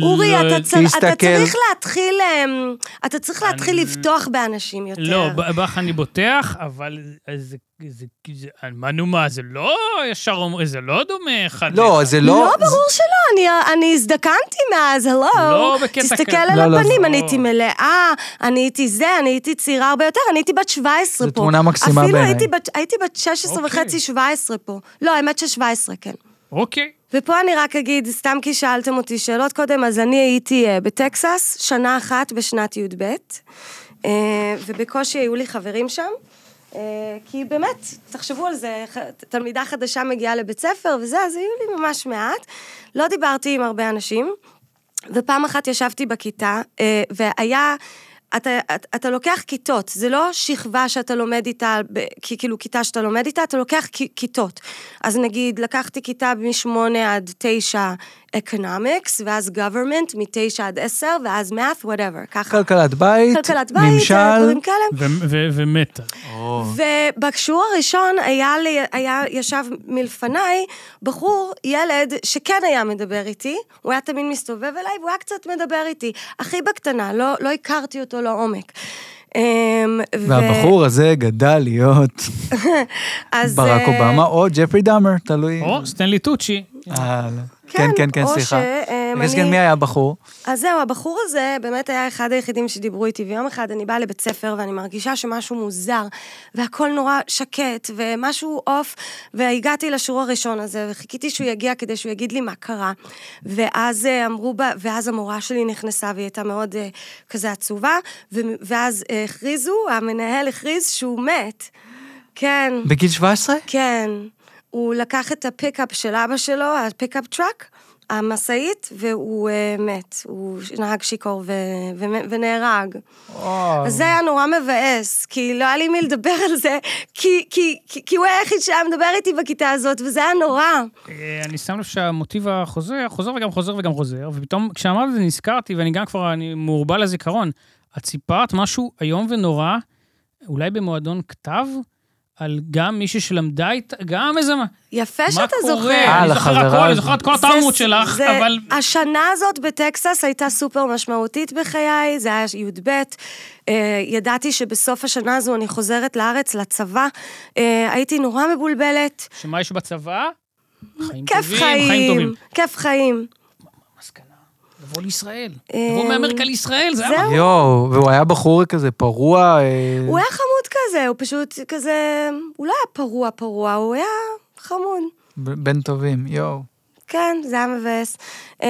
S3: אורי,
S2: לא-
S3: אתה, צר... אתה
S1: תסתכל.
S3: צריך להתחיל, אמ, אתה צריך להתחיל
S2: אני-
S3: לבטוח באנשים יותר.
S2: לא, ב- בך אני בוטח, אבל זה... זה- זה- מה נו מה, זה לא ישר אומר, זה לא דומה אחד
S1: לא,
S2: לאחד.
S1: זה
S3: לא,
S1: לא...
S3: ברור שלא, אני, אני הזדקנתי מאז, הלו.
S2: לא בקטע
S3: תסתכל
S2: כזה.
S3: על
S1: לא, לא,
S3: הפנים,
S2: זה
S3: אני
S2: לא.
S3: הייתי מלאה, אני הייתי זה, אני הייתי צעירה הרבה יותר, אני הייתי בת 17
S1: זו
S3: פה.
S1: תמונה מקסימה
S3: אפילו
S1: בעיניי.
S3: הייתי בת, הייתי בת 16
S2: אוקיי.
S3: וחצי, 17 פה. לא, האמת ש-17, כן.
S2: אוקיי.
S3: ופה אני רק אגיד, סתם כי שאלתם אותי שאלות קודם, אז אני הייתי אה, בטקסס שנה אחת בשנת י"ב, אה, ובקושי היו לי חברים שם. אה, כי באמת, תחשבו על זה, ח- תלמידה חדשה מגיעה לבית ספר וזה, אז היו לי ממש מעט. לא דיברתי עם הרבה אנשים, ופעם אחת ישבתי בכיתה, אה, והיה... אתה, אתה, אתה לוקח כיתות, זה לא שכבה שאתה לומד איתה, ב- כי- כאילו כיתה שאתה לומד איתה, אתה לוקח כ, כיתות. אז נגיד, לקחתי כיתה משמונה עד תשע economics, ואז government מ-9 עד 10, ואז math, whatever, ככה.
S1: כלכלת בית,
S3: כלכלת בית,
S1: ממשל,
S3: דברים כאלה.
S2: ו- ו- ומתה.
S3: ובשיעור הראשון היה לי, היה, ישב מלפניי בחור, ילד, שכן היה מדבר איתי, הוא היה תמיד מסתובב אליי, והוא היה קצת מדבר איתי. הכי בקטנה, לא, לא הכרתי אותו לעומק. אמ, ו-
S1: והבחור הזה גדל להיות
S3: אז,
S1: ברק
S3: אה,
S1: אובמה או ג'פרי דאמר, תלוי.
S2: או סטנלי טוצ'י.
S1: אה, כן, כן, כן,
S3: או
S1: סליחה.
S3: שהם,
S1: אני...
S3: אני-
S1: מי היה הבחור?
S3: אז זהו, הבחור הזה באמת היה אחד היחידים שדיברו איתי, ויום אחד אני באה לבית ספר ואני מרגישה שמשהו מוזר, והכל נורא שקט, ומשהו עוף, והגעתי לשיעור הראשון הזה, וחיכיתי שהוא יגיע כדי שהוא יגיד לי מה קרה. ואז אה, אמרו, בה, ואז המורה שלי נכנסה, והיא הייתה מאוד אה, כזה עצובה, ו, ואז אה, הכריזו, המנהל הכריז שהוא מת. כן.
S1: בגיל 17?
S3: כן. הוא לקח את הפיקאפ של אבא שלו, הפיקאפ טראק, המשאית, והוא uh, מת. הוא נהג שיכור ו- ו- ונהרג. אז זה היה נורא מבאס, כי לא היה לי מי לדבר על זה, כי, כי, כי, כי הוא היה היחיד שהיה מדבר איתי בכיתה הזאת, וזה היה נורא.
S2: אה, אני שם לב שהמוטיב החוזר, חוזר וגם חוזר וגם חוזר, ופתאום כשאמרת את זה נזכרתי, ואני גם כבר, אני מעורבל לזיכרון. את סיפרת משהו איום ונורא, אולי במועדון כתב, על גם מישהי שלמדה איתה, גם איזה... מה
S3: יפה
S2: מה
S3: שאתה
S2: קורה?
S3: זוכר.
S1: אה,
S2: אני זוכר
S1: לחברה
S2: הכל, אני
S1: הזאת.
S2: זוכר את כל
S3: זה-
S2: התרמות שלך,
S3: זה-
S2: אבל...
S3: השנה הזאת בטקסס הייתה סופר משמעותית בחיי, זה היה י"ב. אה, ידעתי שבסוף השנה הזו אני חוזרת לארץ, לצבא. אה, הייתי נורא מבולבלת.
S2: שמה יש בצבא? חיים
S3: כיף
S2: טובים, חיים
S3: חיים,
S2: טובים.
S3: כיף חיים.
S2: מסקנה, לבוא לישראל.
S3: אה,
S2: לבוא מאמריקה לישראל, זה היה...
S3: זהו.
S1: יואו, והוא היה בחור כזה פרוע. אה,
S3: הוא היה חמוד כזה, הוא פשוט כזה... הוא לא היה פרוע פרוע, הוא היה חמוד.
S1: ב- בן טובים, יואו.
S3: כן, זה היה מבאס. אמ,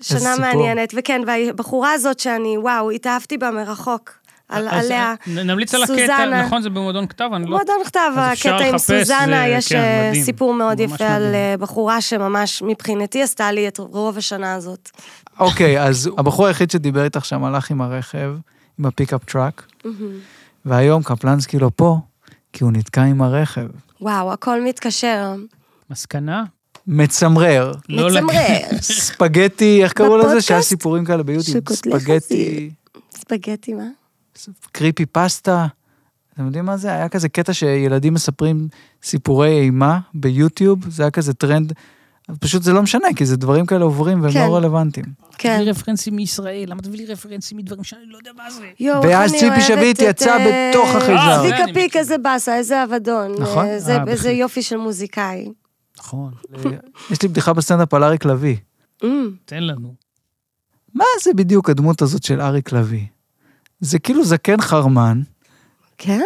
S3: שנה
S1: סיפור.
S3: מעניינת, וכן, והבחורה הזאת שאני, וואו, התאהבתי בה מרחוק. על,
S2: אז אה,
S3: עליה.
S2: נ- נמליץ על
S3: סוזנה.
S2: הקטע, נכון, זה במועדון כתב, אני לא...
S3: מועדון כתב,
S2: אז אפשר
S3: הקטע עם
S2: לחפש,
S3: סוזנה,
S2: זה-
S3: יש
S2: כן,
S3: אה,
S2: מדהים.
S3: סיפור מאוד
S2: ממש
S3: יפה על
S2: מדהים.
S3: אה, בחורה שממש מבחינתי עשתה לי את רוב השנה הזאת.
S1: אוקיי, אז הבחור היחיד שדיבר איתך שם הלך עם הרכב, עם הפיקאפ טראק, והיום קפלנסקי לא פה, כי הוא נתקע עם הרכב.
S3: וואו, הכל מתקשר.
S2: מסקנה?
S1: מצמרר.
S2: לא
S3: מצמרר.
S1: ספגטי, איך קראו לזה?
S3: בפודקאסט?
S1: שהיה סיפורים כאלה ביוטיוב.
S3: שקוטלי
S1: ספגטי,
S3: חזיר. ספגטי, מה?
S1: קריפי פסטה. אתם יודעים מה זה? היה כזה קטע שילדים מספרים סיפורי אימה ביוטיוב, זה היה כזה טרנד. אז פשוט זה לא משנה, כי זה דברים כאלה עוברים והם
S3: כן.
S1: לא רלוונטיים.
S3: כן.
S2: תביא לי רפרנסים מישראל, למה תביא לי רפרנסים מדברים שאני לא יודע מה זה?
S3: יואו, איך
S1: ואז
S3: אני
S1: ציפי
S3: אוהבת
S1: שביט
S3: את,
S1: יצאה
S3: אה,
S1: בתוך החייזר.
S2: אה, זה
S3: צביקה
S2: אני
S3: פיק,
S2: מכיר.
S3: איזה באסה, איזה אבדון.
S1: נכון.
S3: אה, זה- איזה
S2: אה, בהחלט.
S3: יופי של מוזיקאי.
S2: נכון.
S1: אה, יש לי בדיחה בסטנדאפ על אריק לביא.
S3: אמ.
S2: תן לנו.
S1: מה זה בדיוק הדמות הזאת של אריק לביא? זה כאילו זקן חרמן,
S3: כן?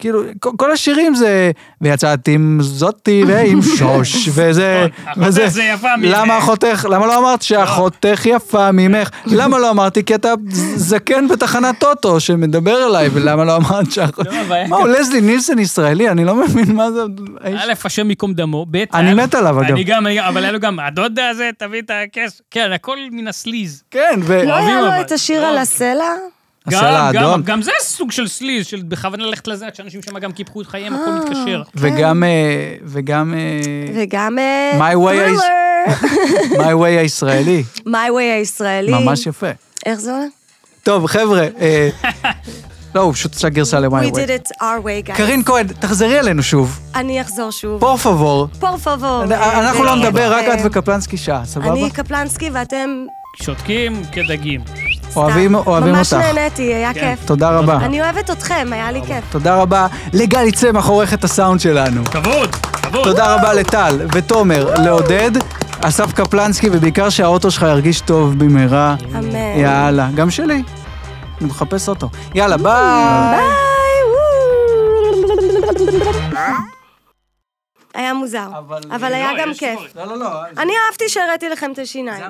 S1: כאילו, כל- כל השירים זה, ויצאת עם זאתי ועם שוש, וזה,
S2: נכון, אחותך זה יפה ממך.
S1: למה אחותך, למה לא אמרת שאחותך יפה ממך? למה לא אמרתי? כי אתה זקן בתחנת טוטו שמדבר אליי, ולמה לא אמרת שאחות...
S2: לא, אבל-
S1: מה, הוא לזלי נילסון ישראלי? אני לא מבין מה זה... האיש-
S2: א', השם ייקום דמו, ב',
S1: אני
S2: היה-
S1: מת עליו, אגב.
S2: אני גם, אני גם, אבל היה לו גם, הדודה הזה, תביא את הכסף. כן, הכל מן הסליז.
S1: כן, ו...
S3: לא היה
S2: אבל.
S3: לו את השיר על הסלע?
S1: הסלע
S2: גם- גם-
S1: האדום.
S2: גם זה סוג של סליז, של בכוונה ללכת לזה, עד שאנשים שם גם קיפחו את חייהם, הכל
S3: אה.
S2: מתקשר.
S1: וגם... אה, וגם... אה,
S3: וגם... אה,
S1: My way is-
S3: Thriller.
S1: My way הישראלי,
S3: My way הישראלי.
S1: ממש יפה.
S3: איך זה עולה?
S1: טוב, חבר'ה, אה, לא, הוא פשוט עשה גרסה ל-My
S3: We
S1: way.
S3: did it our way, guys.
S1: קרין כהן, תחזרי אלינו שוב,
S3: אני אחזור שוב.
S1: פור פבור.
S3: פור פבור.
S1: אנחנו לא נדבר, רק את
S3: אה,
S1: וקפלנסקי שעה, סבבה?
S3: אוקיי. אני קפלנסקי ואתם
S2: שותקים כדגים.
S1: אוהבים
S3: סתם.
S1: אוהבים
S3: ממש
S1: אותך.
S3: נהניתי, היה
S2: כן.
S3: כיף.
S1: תודה רבה.
S3: אני אוהבת אתכם, היה לי כיף.
S1: תודה רבה לגלי צמח, עורכת הסאונד שלנו.
S2: כבוד, כבוד.
S1: תודה רבה לטל ותומר, לעודד, אסף קפלנסקי, ובעיקר שהאוטו שלך ירגיש טוב במהרה.
S3: אמן.
S1: יאללה, גם שלי. אני מחפש אוטו. יאללה, ביי.
S3: ביי, וואו. היה מוזר,
S1: אבל-
S3: אבל היה
S2: לא,
S3: גם
S2: יש
S3: כיף.
S2: צורך.
S1: לא, לא, לא.
S3: אני אהבתי שהראיתי לכם את השיניים.